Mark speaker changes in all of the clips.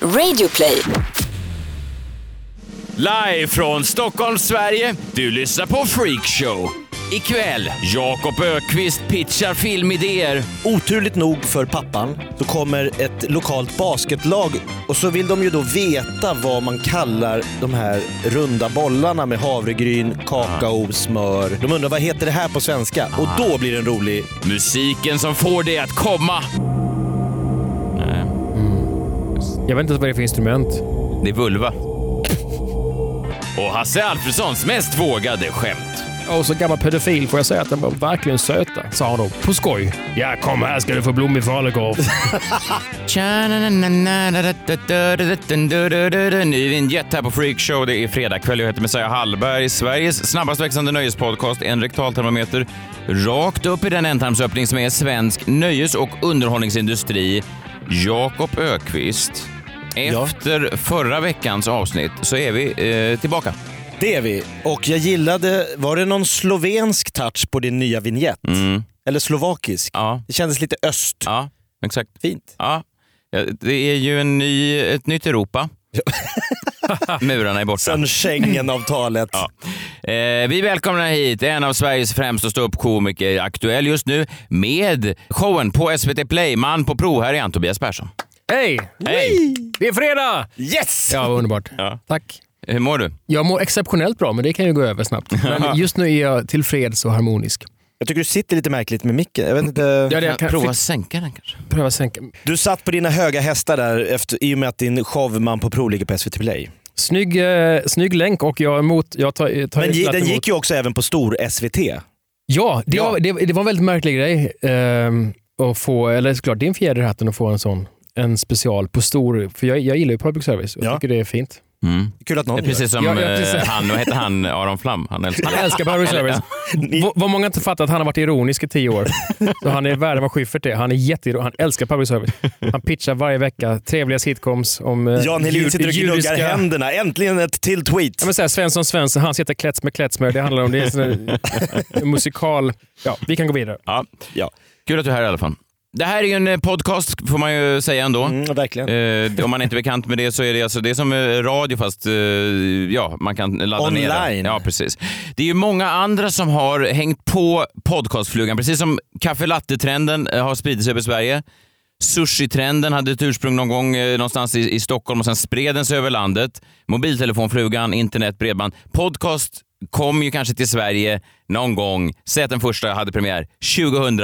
Speaker 1: Radioplay.
Speaker 2: Live från Stockholm, Sverige. Du lyssnar på Freakshow. Ikväll, Jakob Ökvist pitchar filmidéer.
Speaker 3: Oturligt nog för pappan så kommer ett lokalt basketlag och så vill de ju då veta vad man kallar de här runda bollarna med havregryn, kakao, smör. De undrar vad heter det här på svenska? Och då blir det en rolig...
Speaker 2: Musiken som får dig att komma.
Speaker 4: Jag vet inte ens vad det är för instrument.
Speaker 2: Det är vulva. Och Hasse Alfredsons mest vågade skämt.
Speaker 4: Och så gammal pedofil får jag säga att den var verkligen söta, sa han då. På skoj. Ja, kom här ska du få blommig falukorv.
Speaker 2: Ny vinjett här på Freakshow. Det är fredagkväll. Jag heter Messiah Hallberg. Sveriges snabbast växande nöjespodcast. En rektaltermometer rakt upp i den ändtarmsöppning som är svensk nöjes och underhållningsindustri. Jakob Ökvist. Efter förra veckans avsnitt så är vi eh, tillbaka.
Speaker 3: Det är vi. Och jag gillade... Var det någon slovensk touch på din nya vignett? Eller slovakisk?
Speaker 2: Mm. Ja,
Speaker 3: Det kändes lite öst.
Speaker 2: ja exakt.
Speaker 3: Fint.
Speaker 2: Ja. Ja, Det är ju en ny, ett nytt Europa. Murarna är borta.
Speaker 3: Sen Schengenavtalet.
Speaker 2: Ja. Eh, vi välkomnar hit en av Sveriges främsta ståuppkomiker, aktuell just nu, med showen på SVT Play, Man på prov. Här är han, Tobias Persson.
Speaker 4: Hej!
Speaker 2: Hej!
Speaker 4: Det är fredag!
Speaker 3: Yes!
Speaker 4: Ja, vad underbart.
Speaker 2: Ja.
Speaker 4: Tack.
Speaker 2: Hur mår du?
Speaker 4: Jag mår exceptionellt bra, men det kan ju gå över snabbt. Men just nu är jag tillfreds och harmonisk.
Speaker 3: Jag tycker du sitter lite märkligt med micken. Jag vet inte...
Speaker 4: Ja, det
Speaker 2: Jag
Speaker 4: jag kan
Speaker 2: prova
Speaker 4: prova.
Speaker 2: att sänka den kanske.
Speaker 4: pröva sänka.
Speaker 3: Du satt på dina höga hästar där efter, i och med att din show Man på prov ligger på SVT Play.
Speaker 4: Snygg, eh, snygg länk och jag är emot... Jag tar, tar
Speaker 3: Men
Speaker 4: glatt
Speaker 3: den
Speaker 4: emot.
Speaker 3: gick ju också även på stor SVT.
Speaker 4: Ja, det,
Speaker 2: Ja.
Speaker 4: Var, det, det var en väldigt märklig grej. ehm, att få, eller såklart, det är en fjäder i hatten att få en sån. En special på stor... För jag, jag gillar ju public service. Jag
Speaker 3: Ja.
Speaker 4: tycker det är fint.
Speaker 2: Mm.
Speaker 3: Kul att
Speaker 2: Det
Speaker 3: någon
Speaker 2: är precis som
Speaker 4: Ja, ja,
Speaker 2: eh,
Speaker 4: precis.
Speaker 2: han, vad heter han, Aron Flam? Han älskar
Speaker 4: Han älskar public service.
Speaker 3: Ni-
Speaker 4: Vad- Vad många inte fattar att han har varit ironisk i tio år. Så han är värre än vad Schyffert är. Han är jätteironisk. Han älskar public service. Han pitchar varje vecka trevliga sitcoms om eh,
Speaker 3: gör. Jan Helin
Speaker 4: jud-
Speaker 3: sitter och gnuggar
Speaker 4: judiska-
Speaker 3: händerna. Äntligen ett till tweet.
Speaker 4: Ja, men så här, Svensson Svensson, han sitter klätts med klätts med. Det handlar om det. Är en sån här, en musikal. Ja, vi kan gå vidare.
Speaker 2: Ja.
Speaker 3: Ja.
Speaker 2: Kul att du är här i alla fall. Det här är ju en eh, podcast får man ju säga ändå.
Speaker 3: Mm, verkligen.
Speaker 2: Eh, om man inte är bekant med det så är det, alltså, det är som eh, radio fast eh, ja, man kan ladda ner den.
Speaker 3: Online.
Speaker 2: Ja, precis. Det är ju många andra som har hängt på podcastflugan. Precis som kaffe latte-trenden eh, har spridit sig över Sverige. Sushi-trenden hade ett ursprung någon gång eh, någonstans i, i Stockholm och sen spred den sig över landet. Mobiltelefonflugan, internet, bredband. Podcast kom ju kanske till Sverige någon gång. Säg att den första hade premiär 2000, I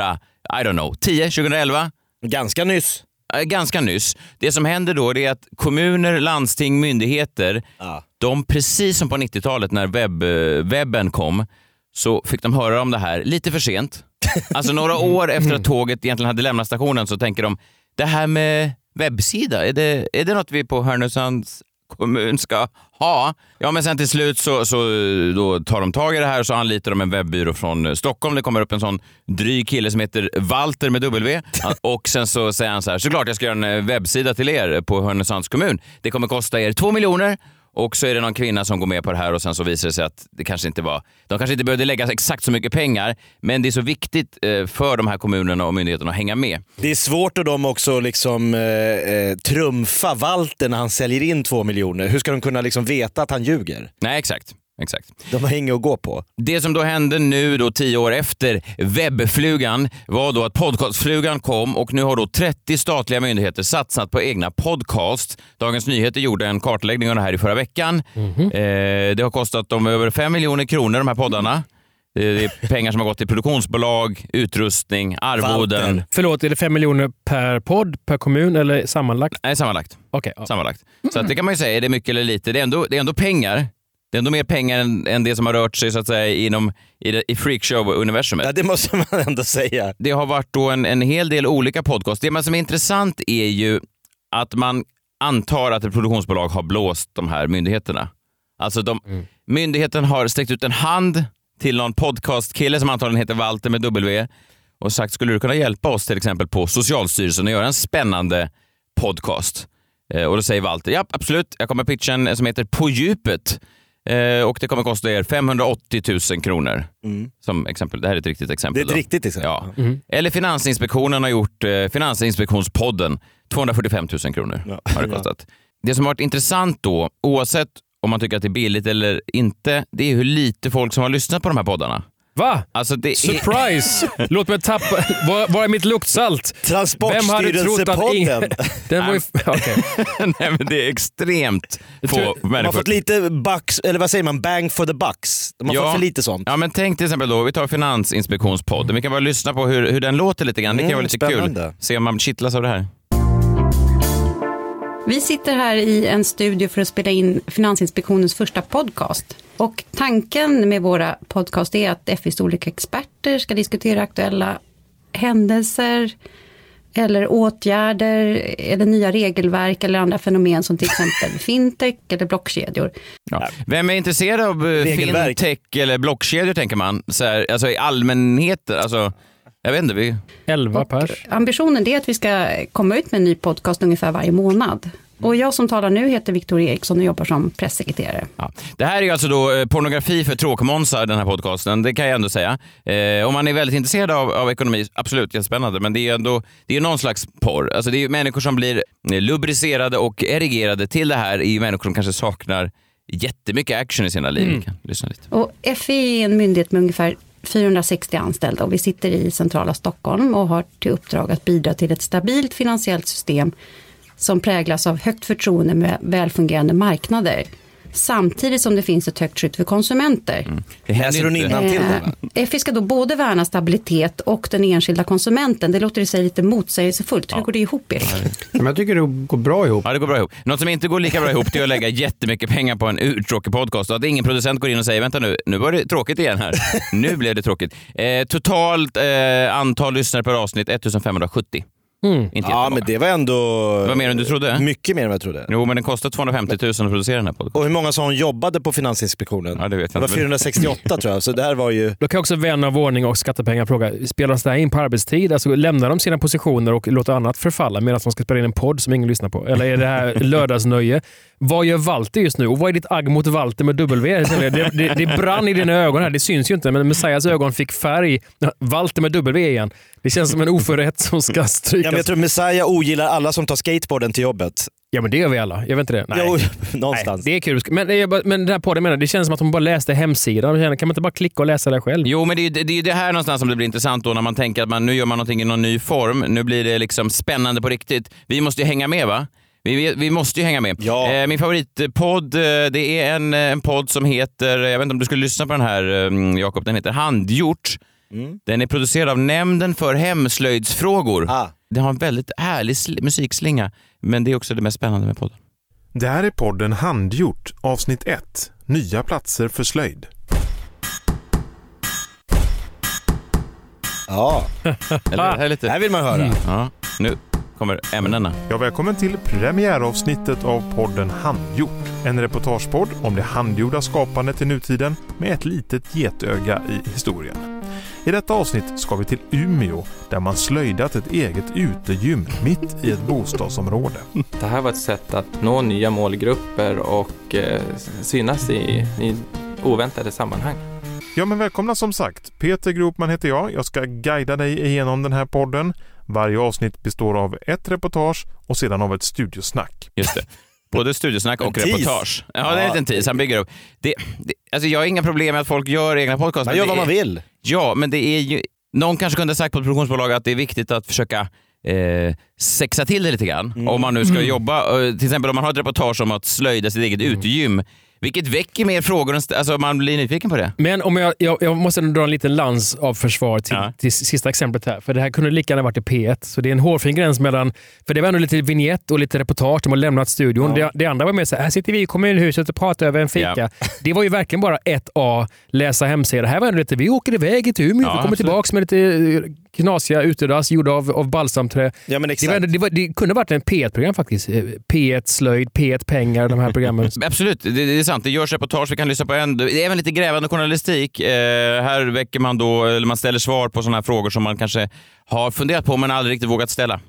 Speaker 2: don't know, 10, 2011?
Speaker 3: Ganska nyss.
Speaker 2: Eh, ganska nyss. Det som händer då det är att kommuner, landsting, myndigheter,
Speaker 3: Ja.
Speaker 2: de precis som på 90-talet när webb, eh, webben kom, så fick de höra om det här lite för sent. Alltså några år efter att tåget egentligen hade lämnat stationen så tänker de, det här med webbsida, är det, är det något vi på Härnösands kommun ska ha? Ja, men sen till slut så, så eh, då tar de tag i det här och så anlitar de en webbyrå från eh, Stockholm. Det kommer upp en sån dryg kille som heter Walter med W och sen så säger han så här, såklart jag ska göra en eh, webbsida till er på Härnösands kommun. Det kommer kosta er två miljoner och så är det någon kvinna som går med på det här och sen så visar det sig att det kanske inte var... De kanske inte behövde lägga exakt så mycket pengar, men det är så viktigt eh, för de här kommunerna och myndigheterna att hänga med.
Speaker 3: Det är svårt att de också liksom, eh, eh, trumfa Walter när han säljer in två miljoner. Hur ska de kunna liksom veta att han ljuger?
Speaker 2: Nej, exakt. Exakt.
Speaker 3: De har inget att gå på.
Speaker 2: Det som då hände nu då tio år efter webbflugan var då att podcastflugan kom och nu har då 30 statliga myndigheter satsat på egna podcasts. Dagens Nyheter gjorde en kartläggning av det här i förra veckan. eh, det har kostat dem över 5 miljoner kronor de här poddarna. Eh, Det är pengar som har gått till produktionsbolag, utrustning, arvoden.
Speaker 3: Walter.
Speaker 4: Förlåt, är det fem miljoner per podd, per kommun eller sammanlagt?
Speaker 2: Nej, sammanlagt.
Speaker 4: Okej. ja.
Speaker 2: sammanlagt. Så att det kan man ju säga, är det mycket eller lite? Det är ändå, det är ändå pengar. Det är ändå mer pengar än, än det som har rört sig så att säga, inom, i, det- i freakshow-universumet.
Speaker 3: Ja, det måste man ändå säga.
Speaker 2: det har varit då en, en hel del olika podcast. Det man som är intressant är ju att man antar att ett produktionsbolag har blåst de här myndigheterna. Alltså de,
Speaker 3: Mm.
Speaker 2: myndigheten har sträckt ut en hand till någon podcastkille som antagligen heter Walter med W och sagt skulle du kunna hjälpa oss till exempel på Socialstyrelsen att göra en spännande podcast? Eh, Och då säger Walter, ja absolut, jag kommer pitcha en som heter På djupet. Eh, och det kommer kosta er 580 000 kronor.
Speaker 3: Mm.
Speaker 2: Som exempel. Det här är ett riktigt
Speaker 3: Det
Speaker 2: exempel.
Speaker 3: är ett
Speaker 2: då.
Speaker 3: riktigt exempel.
Speaker 2: Ja.
Speaker 4: Mm.
Speaker 2: Eller Finansinspektionen har gjort eh, Finansinspektionspodden. 245 000 kronor
Speaker 3: Ja.
Speaker 2: har det kostat. Det som har varit intressant då, oavsett om man tycker att det är billigt eller inte, det är hur lite folk som har lyssnat på de här poddarna.
Speaker 4: Va?
Speaker 2: Alltså det är,
Speaker 4: Surprise! Låt mig tappa... Var, var är mitt luktsalt? Vem hade trott att ingen...
Speaker 3: Transportstyrelsepodden.
Speaker 4: Den var ju... Okej.
Speaker 2: nej, men det är extremt få
Speaker 3: De har
Speaker 2: människor.
Speaker 3: fått lite bucks, eller vad säger man, bang for the bucks. De har
Speaker 2: Ja.
Speaker 3: fått för lite sånt.
Speaker 2: Ja, men tänk till exempel då, vi tar Finansinspektionspodden. Vi kan bara lyssna på hur, hur den låter lite grann. Det kan
Speaker 3: Mm,
Speaker 2: vara lite
Speaker 3: spännande.
Speaker 2: kul. Se om man kittlas av det här.
Speaker 1: Vi sitter här i en studio för att spela in Finansinspektionens första podcast. Och tanken med våra podcast är att FIs olika experter ska diskutera aktuella händelser eller åtgärder eller nya regelverk eller andra fenomen som till exempel fintech eller blockkedjor.
Speaker 2: Ja. Vem är intresserad av eh,
Speaker 3: Regelverk.
Speaker 2: fintech eller blockkedjor tänker man? Så här, alltså i allmänhet, alltså, jag vet inte. Vi,
Speaker 4: Elva pers.
Speaker 1: Ambitionen det är att vi ska komma ut med en ny podcast ungefär varje månad. Och jag som talar nu heter Victoria Eriksson och jobbar som pressekreterare.
Speaker 2: ja. Det här är ju alltså då eh, pornografi för tråkmånsar, den här podcasten. Det kan jag ändå säga. Eh, om man är väldigt intresserad av, av ekonomi, absolut jättespännande. Men det är ju ändå det är någon slags porr. Alltså det är ju människor som blir eh, lubricerade och erigerade till det här. är ju människor som kanske saknar jättemycket action i sina liv. Vi kan lyssna lite.
Speaker 1: Och FI är en myndighet med ungefär 460 anställda och vi sitter i centrala Stockholm och har till uppdrag att bidra till ett stabilt finansiellt system som präglas av högt förtroende med välfungerande marknader. Samtidigt som det finns ett högt skydd för konsumenter.
Speaker 2: Det händer
Speaker 3: Läser
Speaker 2: ju
Speaker 3: hon
Speaker 2: inte.
Speaker 3: innantill då? va?
Speaker 1: Eh, FI ska då både värna stabilitet och den enskilda konsumenten. Det låter i sig lite motsägelsefullt. Hur går det ihop Erik?
Speaker 5: Men jag tycker det går bra ihop.
Speaker 2: Ja, det går bra ihop. Något som inte går lika bra ihop det är att lägga jättemycket pengar på en urtråkig podcast och att ingen producent går in och säger vänta nu, nu var det tråkigt igen här. Nu blev det tråkigt. Eh, totalt eh, antal lyssnare per avsnitt 1570.
Speaker 4: Mm.
Speaker 2: Inte
Speaker 3: Ja, men det var ändå...
Speaker 2: Det var mer än du trodde.
Speaker 3: Mycket mer än vad jag trodde.
Speaker 2: Jo, men den kostar 250 000 att producera den här podcasten.
Speaker 3: Och hur många som jobbade på Finansinspektionen?
Speaker 2: Ja, det vet
Speaker 3: det
Speaker 2: jag
Speaker 3: var
Speaker 2: inte. men-
Speaker 3: 468 tror jag, så det här var ju...
Speaker 4: Då kan också vän av ordning och skattepengar fråga, spelas det här in på arbetstid? Alltså lämnar de sina positioner och låter annat förfalla medan de ska spela in en podd som ingen lyssnar på? Eller är det här lördagsnöje? Vad gör Walter just nu? Och vad är ditt agg mot Walter med W? Det, det, det brann i dina ögon här, det syns ju inte, men Messias ögon fick färg. Walter med W igen. Det känns som en oförrätt som ska
Speaker 3: Ja,
Speaker 4: strykas.
Speaker 3: men jag tror Messiah ogillar alla som tar skateboarden till jobbet.
Speaker 4: det gör vi alla. Jag vet inte det. Nej.
Speaker 3: Jo,
Speaker 4: Nej,
Speaker 3: någonstans.
Speaker 4: det är kul. Men, eh, jag bara- men den här podden menar, jag, det känns som att hon bara läste hemsidan. Kan man inte bara klicka och läsa det själv?
Speaker 2: Jo, men det är ju det, det, är ju det här någonstans som det blir intressant då när man tänker att man, nu gör man någonting i någon ny form. Nu blir det liksom spännande på riktigt. Vi måste ju hänga med va? Vi, vi, vi måste ju hänga med.
Speaker 3: Ja.
Speaker 2: Eh, min favoritpodd, eh, det är en, eh, en podd som heter, eh, jag vet inte om du skulle lyssna på den här eh, Jakob, den heter Handgjort.
Speaker 3: Mm.
Speaker 2: Den är producerad av Nämnden för hemslöjdsfrågor.
Speaker 3: Ah.
Speaker 2: Den har en väldigt härlig sl- musikslinga, men det är också det mest spännande med podden.
Speaker 6: Det här är podden Handgjort, avsnitt 1, Nya platser för slöjd.
Speaker 3: Ja,
Speaker 2: Eller, det här är
Speaker 3: det här
Speaker 2: lite,
Speaker 3: vill man höra.
Speaker 2: ja, nu kommer ämnena.
Speaker 6: Ja, välkommen till premiäravsnittet av podden Handgjort. En reportagepodd om det handgjorda skapandet i nutiden med ett litet getöga i historien. I detta avsnitt ska vi till Umeå där man slöjdat ett eget utegym mitt i ett bostadsområde.
Speaker 7: Det här var ett sätt att nå nya målgrupper och eh, synas i, i oväntade sammanhang.
Speaker 6: Ja, men välkomna som sagt. Peter Gropman heter jag. Jag ska guida dig igenom den här podden. Varje avsnitt består av ett reportage och sedan av ett studiosnack.
Speaker 2: Just det. Både studiosnack och
Speaker 3: En tease.
Speaker 2: reportage. Ja, det är
Speaker 3: Ja.
Speaker 2: en liten tease. Han bygger upp. Det, det, alltså jag har inga problem med att folk gör egna podcasts.
Speaker 3: Man
Speaker 2: men
Speaker 3: gör
Speaker 2: det
Speaker 3: vad man
Speaker 2: är-
Speaker 3: vill.
Speaker 2: Ja, men det är ju... Någon kanske kunde ha sagt på ett produktionsbolag att det är viktigt att försöka eh, sexa till det lite grann.
Speaker 3: Mm.
Speaker 2: Om man nu ska jobba. eh, Till exempel om man har ett reportage om att slöjda sitt eget
Speaker 3: Mm.
Speaker 2: utegym. Vilket väcker mer frågor. än st- Alltså man blir nyfiken på det.
Speaker 4: Men om jag, jag, jag måste ändå dra en liten lans av försvar till,
Speaker 2: Ja.
Speaker 4: till sista exemplet här. För det här kunde lika gärna varit i P1. Så det är en hårfin gräns mellan... För det var ändå lite vignett och lite reportage. De har lämnat studion. Det, det andra var mer så här, här sitter vi i kommunhuset och pratar över en fika.
Speaker 2: Ja.
Speaker 4: Det var ju verkligen bara ett A, läsa hemsida. Här var ändå lite, vi åker iväg till
Speaker 2: Ja,
Speaker 4: Umeå. vi kommer
Speaker 2: absolut.
Speaker 4: tillbaka med lite eh, knasiga utedass gjorda av, av balsamträ.
Speaker 3: Ja, men
Speaker 4: Det, var,
Speaker 3: exakt.
Speaker 4: ändå- det, var, det kunde varit en P1-program faktiskt. Eh, P1 Slöjd, P1 Pengar, de här programmen.
Speaker 2: Absolut, det, det är sant. Det görs reportage, vi kan lyssna på en. Det är även lite grävande journalistik. Eh, här väcker man då, eller man ställer svar på sådana här frågor som man kanske har funderat på men aldrig riktigt vågat ställa.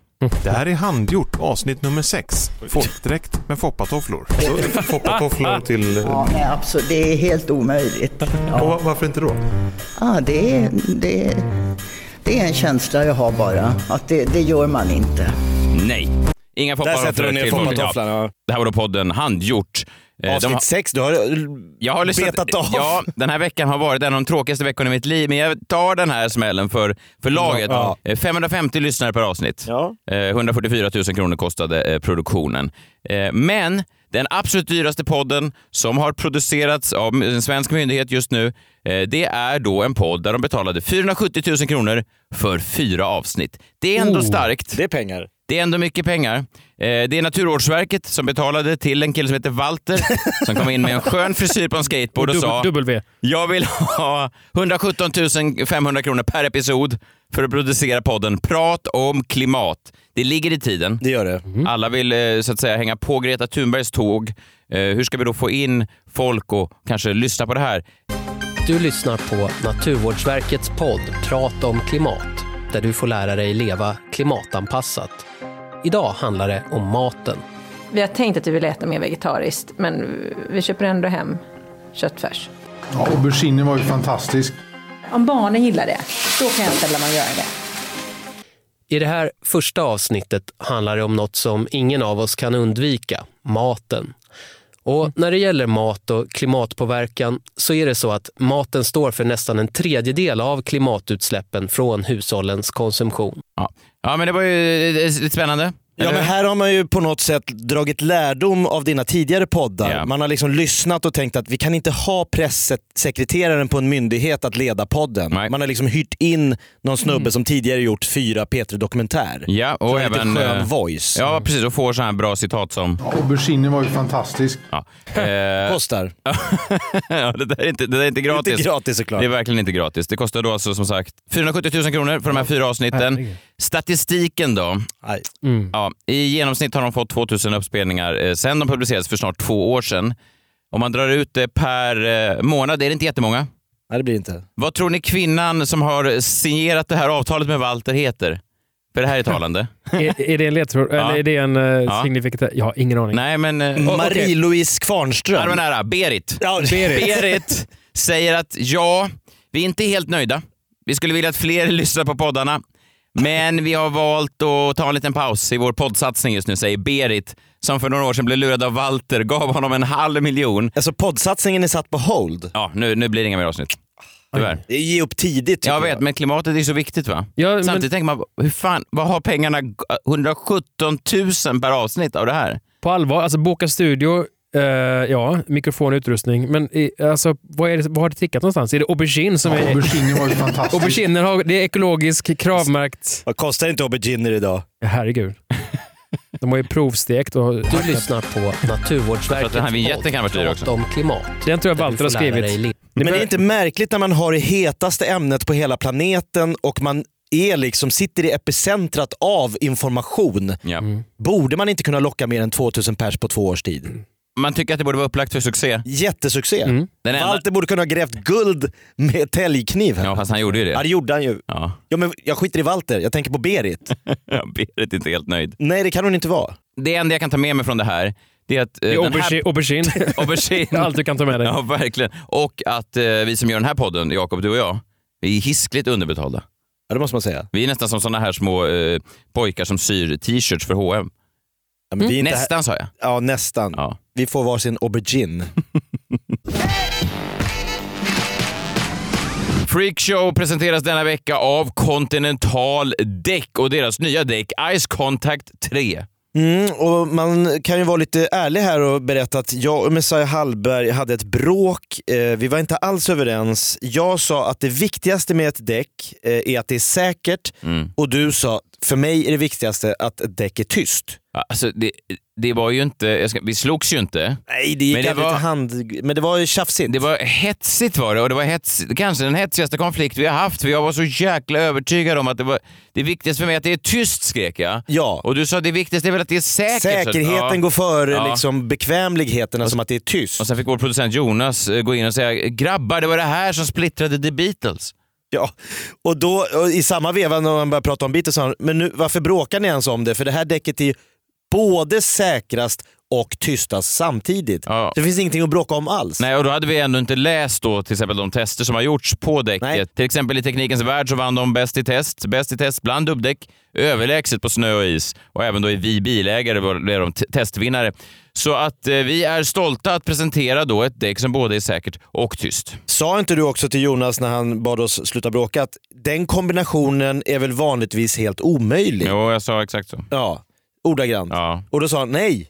Speaker 6: Det här är handgjort, avsnitt nummer 6. Folkdräkt med foppatofflor. Så, Foppatofflor till...
Speaker 8: Ja, nej, absolut. Det är helt omöjligt.
Speaker 6: Och va- varför inte då?
Speaker 8: Ja, det, är, det, är- det är en känsla jag har bara, att det, det gör man inte.
Speaker 2: Nej. Inga
Speaker 3: Där
Speaker 2: foppatofflor
Speaker 3: sätter du ner
Speaker 2: till folk.
Speaker 3: foppatofflan. Ja.
Speaker 2: Ja, Det här var då podden Handgjort. Eh, de har-
Speaker 3: Avsnitt 6, du har,
Speaker 2: Jag har lyssnat,
Speaker 3: betat av.
Speaker 2: Ja, den här veckan har varit en av de tråkigaste veckorna i mitt liv, men jag tar den här smällen för, för laget.
Speaker 3: Ja.
Speaker 2: Eh, 550 lyssnare per avsnitt.
Speaker 3: Ja.
Speaker 2: Eh, 144 000 kronor kostade eh, produktionen. Eh, Men den absolut dyraste podden som har producerats av en svensk myndighet just nu, eh, det är då en podd där de betalade 470 000 kronor för fyra avsnitt. Det är ändå starkt.
Speaker 3: Oh, Det är pengar.
Speaker 2: Det är ändå mycket pengar. Eh, det är Naturvårdsverket som betalade till en kille som heter Walter som kom in med en skön frisyr på en skateboard och sa
Speaker 4: W.
Speaker 2: jag vill ha 117 500 kronor per episod för att producera podden Prat om klimat. Det ligger i tiden.
Speaker 3: Det gör det.
Speaker 2: Alla vill eh, så att säga hänga på Greta Thunbergs tåg. Eh, Hur ska vi då få in folk och kanske lyssna på det här?
Speaker 9: Du lyssnar på Naturvårdsverkets podd Prat om klimat, där du får lära dig leva klimatanpassat. Idag handlar det om maten.
Speaker 10: Vi har tänkt att vi vill äta mer vegetariskt, men vi köper ändå hem köttfärs.
Speaker 11: Ja, auberginen var ju fantastisk.
Speaker 10: Om barnen gillar det, då kan jag ställa man gör det.
Speaker 9: I det här första avsnittet handlar det om något som ingen av oss kan undvika, maten.
Speaker 4: Mm.
Speaker 9: Och när det gäller mat och klimatpåverkan så är det så att maten står för nästan en tredjedel av klimatutsläppen från hushållens konsumtion.
Speaker 2: Ja, ja men det var ju eh, lite spännande.
Speaker 3: Ja,
Speaker 2: Eller
Speaker 3: men
Speaker 2: hur?
Speaker 3: här har man ju på något sätt dragit lärdom av dina tidigare poddar.
Speaker 2: Ja.
Speaker 3: Man har liksom lyssnat och tänkt att vi kan inte ha pressekreteraren på en myndighet att leda podden.
Speaker 2: Nej.
Speaker 3: Man har liksom hyrt in någon snubbe som tidigare gjort fyra Petri Dokumentär.
Speaker 2: Ja, och
Speaker 3: en
Speaker 2: även...
Speaker 3: lite skön
Speaker 2: eh,
Speaker 3: voice.
Speaker 2: Ja, precis. Och får så här bra citat som...
Speaker 11: Ja, auberginen var ju fantastisk.
Speaker 2: Ja. Eh,
Speaker 3: Kostar.
Speaker 2: ja, det, där är inte, det där är inte
Speaker 3: Gratis.
Speaker 2: gratis.
Speaker 3: Inte gratis såklart.
Speaker 2: Det är verkligen inte gratis. Det kostar då alltså som sagt 470 000 kronor för de här fyra avsnitten.
Speaker 4: Herregud.
Speaker 2: Statistiken då.
Speaker 3: Nej.
Speaker 4: Mm.
Speaker 2: Ja, I genomsnitt har de fått 2000 uppspelningar eh, sen de publicerades för snart två år sedan. Om man drar ut det per eh, månad är det inte jättemånga.
Speaker 3: Nej, det blir inte.
Speaker 2: Vad tror ni kvinnan som har signerat det här avtalet med Walter heter? För det här är talande.
Speaker 4: Är, är det en ledtråd? Eller är det en uh,
Speaker 2: Ja.
Speaker 4: signifikatör? Jag har ingen aning.
Speaker 2: Nej, men... eh,
Speaker 3: Mm. Marie-Louise
Speaker 2: Ja, det var
Speaker 3: Kvarnström.
Speaker 2: nära. Berit.
Speaker 3: Ja, Berit.
Speaker 2: eh, Berit säger att ja, vi är inte helt nöjda. Vi skulle vilja att fler lyssnar på poddarna. Men vi har valt att ta en liten paus i vår poddsatsning just nu, säger Berit, som för några år sedan blev lurad av Walter, gav honom en halv miljon.
Speaker 3: Alltså poddsatsningen är satt på hold.
Speaker 2: Ja, nu, nu blir det inga mer avsnitt. Tyvärr.
Speaker 3: Det är Ge upp tidigt. tycker
Speaker 2: Jag vet, men klimatet är så viktigt va?
Speaker 4: Ja, men-
Speaker 2: Samtidigt tänker man, hur fan, vad har pengarna, 117 000 per avsnitt av det här?
Speaker 4: På allvar, alltså boka studio, eh, ja, mikrofon och utrustning. Men i, alltså, vad, är det, vad har det tickat någonstans? Är det aubergine som
Speaker 11: Ja,
Speaker 4: är...
Speaker 11: auberginen var ju fantastisk.
Speaker 4: Auberginen har, det är ekologisk, kravmärkt.
Speaker 3: Vad kostar inte auberginer idag?
Speaker 4: Herregud. De har ju provstekt och...
Speaker 9: Du lyssnar på
Speaker 2: Jag tror att den här
Speaker 9: Naturvårdsverkets
Speaker 2: vignetten kan ha varit dyr
Speaker 9: Prat
Speaker 2: också.
Speaker 9: om klimat.
Speaker 4: Den tror jag
Speaker 9: där du
Speaker 4: Walter har
Speaker 9: får lära dig
Speaker 4: skrivit.
Speaker 9: leva.
Speaker 4: Det
Speaker 3: Men det är
Speaker 4: bör-
Speaker 3: inte märkligt när man har det hetaste ämnet på hela planeten och man är liksom, sitter i epicentrat av information.
Speaker 2: Ja.
Speaker 3: Borde man inte kunna locka mer än 2000 pers på två års tid?
Speaker 2: Man tycker att det borde vara upplagt för succé.
Speaker 3: Jättesuccé.
Speaker 2: Den enda...
Speaker 3: Walter borde kunna ha grävt guld med täljkniv.
Speaker 2: Ja,
Speaker 3: Ja.
Speaker 2: fast han gjorde ju
Speaker 3: ja,
Speaker 2: det.
Speaker 3: det gjorde han ju.
Speaker 2: Ja.
Speaker 3: Ja, men jag skiter i Walter, jag tänker på Berit.
Speaker 2: Ja, Berit är inte helt nöjd.
Speaker 3: Nej, det kan hon inte vara.
Speaker 2: Det enda jag kan ta med mig från det här, det är att... eh,
Speaker 4: Det är
Speaker 2: den
Speaker 4: aubergine.
Speaker 2: här...
Speaker 4: aubergine. Det är
Speaker 2: aubergine.
Speaker 4: allt du kan ta med dig.
Speaker 2: ja, verkligen. Och att eh, vi som gör den här podden, Jakob, du och jag, vi är hiskligt underbetalda.
Speaker 3: Ja, det måste man säga.
Speaker 2: Vi är nästan som såna här små eh, pojkar som syr t-shirts för H&M.
Speaker 3: Ja, men vi är inte här-
Speaker 2: Nästan, sa jag.
Speaker 3: Ja, nästan.
Speaker 2: Ja.
Speaker 3: Vi får varsin aubergine.
Speaker 2: Freakshow presenteras denna vecka av Continental Däck och deras nya däck Ice Contact 3.
Speaker 3: Mm, och man kan ju vara lite ärlig här och berätta att jag och Messiah Hallberg hade ett bråk. Eh, vi var inte alls överens. Jag sa att det viktigaste med ett däck eh, är att det är säkert
Speaker 4: Mm.
Speaker 3: och du sa för mig är det viktigaste att ett däck är tyst.
Speaker 2: Ja, Alltså, det, det var ju inte... Jag ska, vi slogs ju inte.
Speaker 3: Nej, det gick
Speaker 2: Men det
Speaker 3: aldrig till
Speaker 2: var-
Speaker 3: hand... Men det var ju tjafsigt.
Speaker 2: Det var hetsigt var det och det var hets, kanske den hetsigaste konflikt vi har haft för jag var så jäkla övertygad om att det var det viktigaste för mig att det är tyst skrek jag.
Speaker 3: Ja.
Speaker 2: Och du sa det viktigaste är väl att det är säkert. Så att-
Speaker 3: Säkerheten
Speaker 2: ja.
Speaker 3: går före
Speaker 2: Ja.
Speaker 3: liksom, bekvämligheterna som att det är tyst.
Speaker 2: Och sen fick vår producent Jonas eh, gå in och säga “grabbar, det var det här som splittrade The Beatles”.
Speaker 3: Ja, och då och i samma veva när man börjar prata om Beatles sa han, men nu, varför bråkar ni ens om det? För det här däcket är ju både säkrast och tystast samtidigt. Det finns ingenting att bråka om alls.
Speaker 2: Nej, och då hade vi ändå inte läst då till exempel de tester som har gjorts på däcket. Till exempel i Teknikens Värld så vann de Bäst i test, Bäst i test bland dubbdäck, överlägset på snö och is och även då i Vi bilägare var- blev de t- testvinnare. Så att eh, vi är stolta att presentera då ett däck som både är säkert och tyst.
Speaker 3: Sa inte du också till Jonas när han bad oss sluta bråka att den kombinationen är väl vanligtvis helt omöjlig?
Speaker 2: Jo, jag sa exakt så.
Speaker 3: Ja, ordagrant. Och då sa han nej,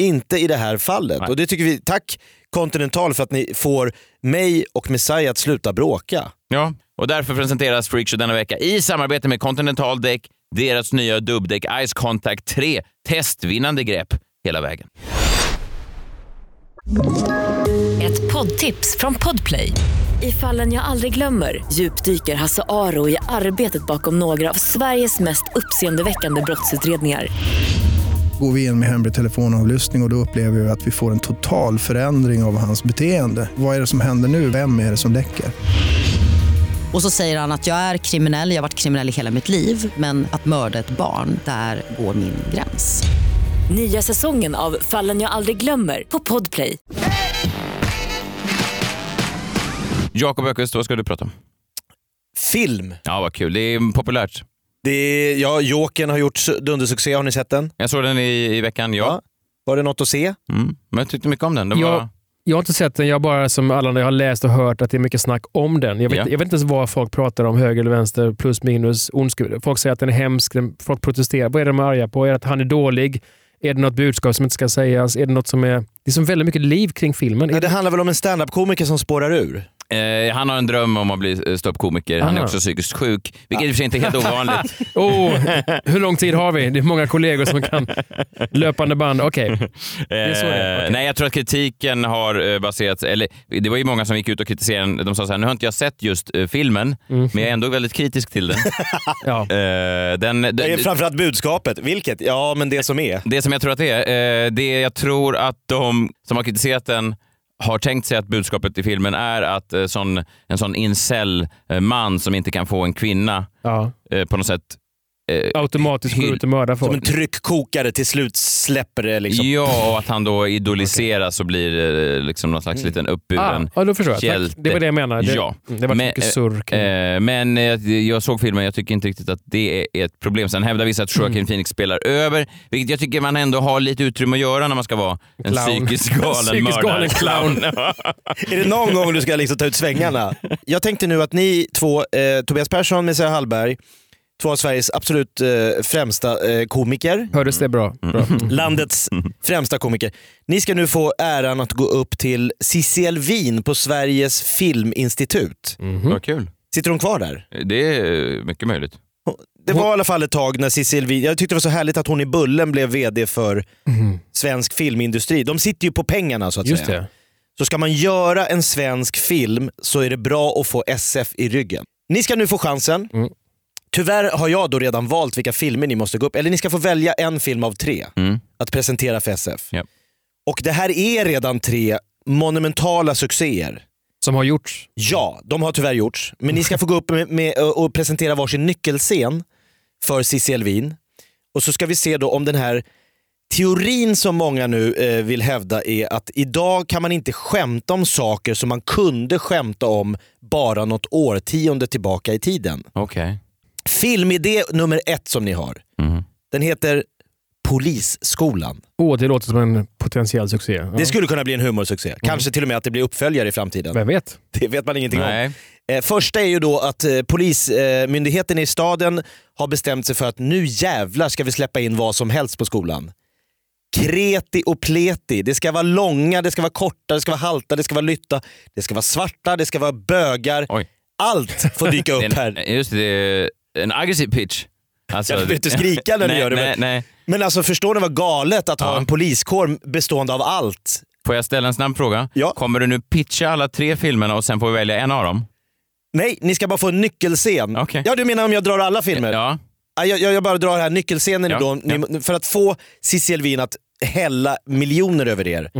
Speaker 3: inte i det här fallet. Och det tycker vi, tack Continental för att ni får mig och Messiah att sluta bråka.
Speaker 2: Ja, och därför presenteras Freakshow denna vecka i samarbete med Continental Däck, deras nya dubbdäck Ice Contact 3. Testvinnande grepp hela vägen.
Speaker 12: Ett poddtips från Podplay. I fallen jag aldrig glömmer djupdyker Hasse Aro i arbetet bakom några av Sveriges mest uppseendeväckande brottsutredningar.
Speaker 13: Går vi in med hemlig telefonavlyssning och, och då upplever vi att vi får en total förändring av hans beteende. Vad är det som händer nu? Vem är det som läcker?
Speaker 14: Och så säger han att jag är kriminell, jag har varit kriminell i hela mitt liv men att mörda ett barn, där går min gräns.
Speaker 12: Nya säsongen av Fallen jag aldrig glömmer på Podplay.
Speaker 2: Jakob Öqvist, vad ska du prata om?
Speaker 3: Film.
Speaker 2: Ja, vad kul. Det är populärt.
Speaker 3: Det är, ja, Jokern har gjort su- dundersuccé, har ni sett den?
Speaker 2: Jag såg den i, i veckan, ja.
Speaker 3: Var det något att se?
Speaker 2: Mm. Men jag tyckte mycket om den. Det var...
Speaker 4: Jag, jag har inte sett den, jag har bara som alla andra, jag har läst och hört att det är mycket snack om den. Jag vet,
Speaker 2: Ja.
Speaker 4: jag vet inte ens vad folk pratar om, höger eller vänster, plus minus, ondska. Folk säger att den är hemsk, den, folk protesterar. Vad är de arga på? Är det att han är dålig? Är det något budskap som inte ska sägas? Är det något som är... Det är som väldigt mycket liv kring filmen.
Speaker 3: det handlar väl om en standup-komiker som spårar ur?
Speaker 2: Eh, han har en dröm om att bli eh, ståuppkomiker. Han är
Speaker 4: Aha.
Speaker 2: också psykiskt sjuk, vilket i och för sig inte är helt ovanligt.
Speaker 4: oh, hur lång tid har vi? Det är många kollegor som kan löpande band. Okej. är så det är.
Speaker 2: Eh, Nej, jag tror att kritiken har eh, baserats... Eller, det var ju många som gick ut och kritiserade den. De sa så här, nu har inte jag sett just eh, filmen,
Speaker 4: Mm.
Speaker 3: Mhm.
Speaker 2: men jag är ändå väldigt kritisk till den. Eh, den, den
Speaker 3: Det är framförallt budskapet. Vilket? Ja, men det som är.
Speaker 2: Det som jag tror att det är, eh, det jag tror att de som har kritiserat den har tänkt sig att budskapet i filmen är att eh, sån, en sån incel-man som inte kan få en kvinna
Speaker 4: Ja.
Speaker 2: eh, på något sätt... eh,
Speaker 4: Automatiskt går
Speaker 2: hyll-
Speaker 4: ut och mördar folk.
Speaker 2: Som en
Speaker 3: tryckkokare till slut släpper det liksom.
Speaker 2: Ja, och att han då idoliseras och blir eh, liksom någon
Speaker 3: Mm.
Speaker 2: slags liten uppburen
Speaker 4: Ah, ja, då förstår jag. Tack.
Speaker 2: hjälte.
Speaker 4: Det var det jag menade. Det-
Speaker 2: ja.
Speaker 4: mm, det var mycket
Speaker 2: eh,
Speaker 4: surr kring-
Speaker 2: eh, Men eh, jag såg filmen, jag tycker inte riktigt att det är ett problem. Sen hävdar vissa att Joaquin
Speaker 3: Mm.
Speaker 2: Phoenix spelar över, vilket jag tycker man ändå har lite utrymme att göra när man ska vara en
Speaker 3: Clown.
Speaker 2: psykiskt galen
Speaker 3: Psykiskt galen
Speaker 2: mördarclown.
Speaker 3: är det någon gång du ska liksom ta ut svängarna? Jag tänkte nu att ni två, eh, Tobias Persson, Messiah Hallberg, två av Sveriges absolut eh, främsta eh, komiker.
Speaker 4: Hördes det bra?
Speaker 2: Mm.
Speaker 4: Mm. bra.
Speaker 3: Landets främsta komiker. Ni ska nu få äran att gå upp till Cissi Elvin på Sveriges Filminstitut.
Speaker 4: Mm.
Speaker 2: Vad kul.
Speaker 3: Sitter hon kvar där?
Speaker 2: Det är mycket möjligt.
Speaker 3: Det var i alla fall ett tag när Cissi Elvin, jag tyckte det var så härligt att hon i Bullen blev VD för svensk filmindustri. De sitter ju på pengarna så att
Speaker 4: Mhm. Just
Speaker 3: säga.
Speaker 4: det.
Speaker 3: Så ska man göra en svensk film så är det bra att få SF i ryggen. Ni ska nu få chansen.
Speaker 4: Mm.
Speaker 3: Tyvärr har jag då redan valt vilka filmer ni måste gå upp, eller ni ska få välja en film av tre att presentera för SF. Och det här är redan tre monumentala succéer.
Speaker 4: Som har gjorts?
Speaker 3: Ja, de har tyvärr gjorts. Men ni ska få gå upp med, med, eh, och presentera varsin nyckelscen för Cissi Elvin. Och så ska vi se då om den här teorin som många nu eh, vill hävda är att idag kan man inte skämta om saker som man kunde skämta om bara något årtionde tillbaka i tiden.
Speaker 2: Okej.
Speaker 3: Filmidé nummer ett som ni har. Den heter Polisskolan.
Speaker 4: Åh, det låter som en potentiell succé. Ja.
Speaker 3: Det skulle kunna bli en humorsuccé. Kanske till och med att det blir uppföljare i framtiden.
Speaker 4: Vem vet?
Speaker 3: Det vet man ingenting
Speaker 2: Nej.
Speaker 3: om. Eh, första är ju då att eh, polismyndigheten i staden har bestämt sig för att nu jävlar ska vi släppa in vad som helst på skolan. Kreti och pleti. Det ska vara långa, det ska vara korta, det ska vara halta, det ska vara lytta, det ska vara svarta, det ska vara bögar. Allt får dyka upp
Speaker 2: Det
Speaker 3: här.
Speaker 2: är en- Just det, det är en aggressiv pitch. Alltså,
Speaker 3: Jag behöver inte skrika när du
Speaker 2: nej,
Speaker 3: gör det,
Speaker 2: Nej,
Speaker 3: men-
Speaker 2: nej.
Speaker 3: Men alltså förstår ni vad galet att ha en poliskår bestående av allt?
Speaker 2: Får jag ställa en snabb fråga? Kommer du nu pitcha alla tre filmerna och sen får vi välja en av dem?
Speaker 3: Nej, ni ska bara få en nyckelscen. Ja, du menar om jag drar alla filmer?
Speaker 2: Ja.
Speaker 3: Ah, Jag, jag, jag bara drar här nyckelscenen
Speaker 2: Ja,
Speaker 3: då. Ni, För att få Cissi Elvin att
Speaker 2: Mm.
Speaker 3: hälla miljoner över er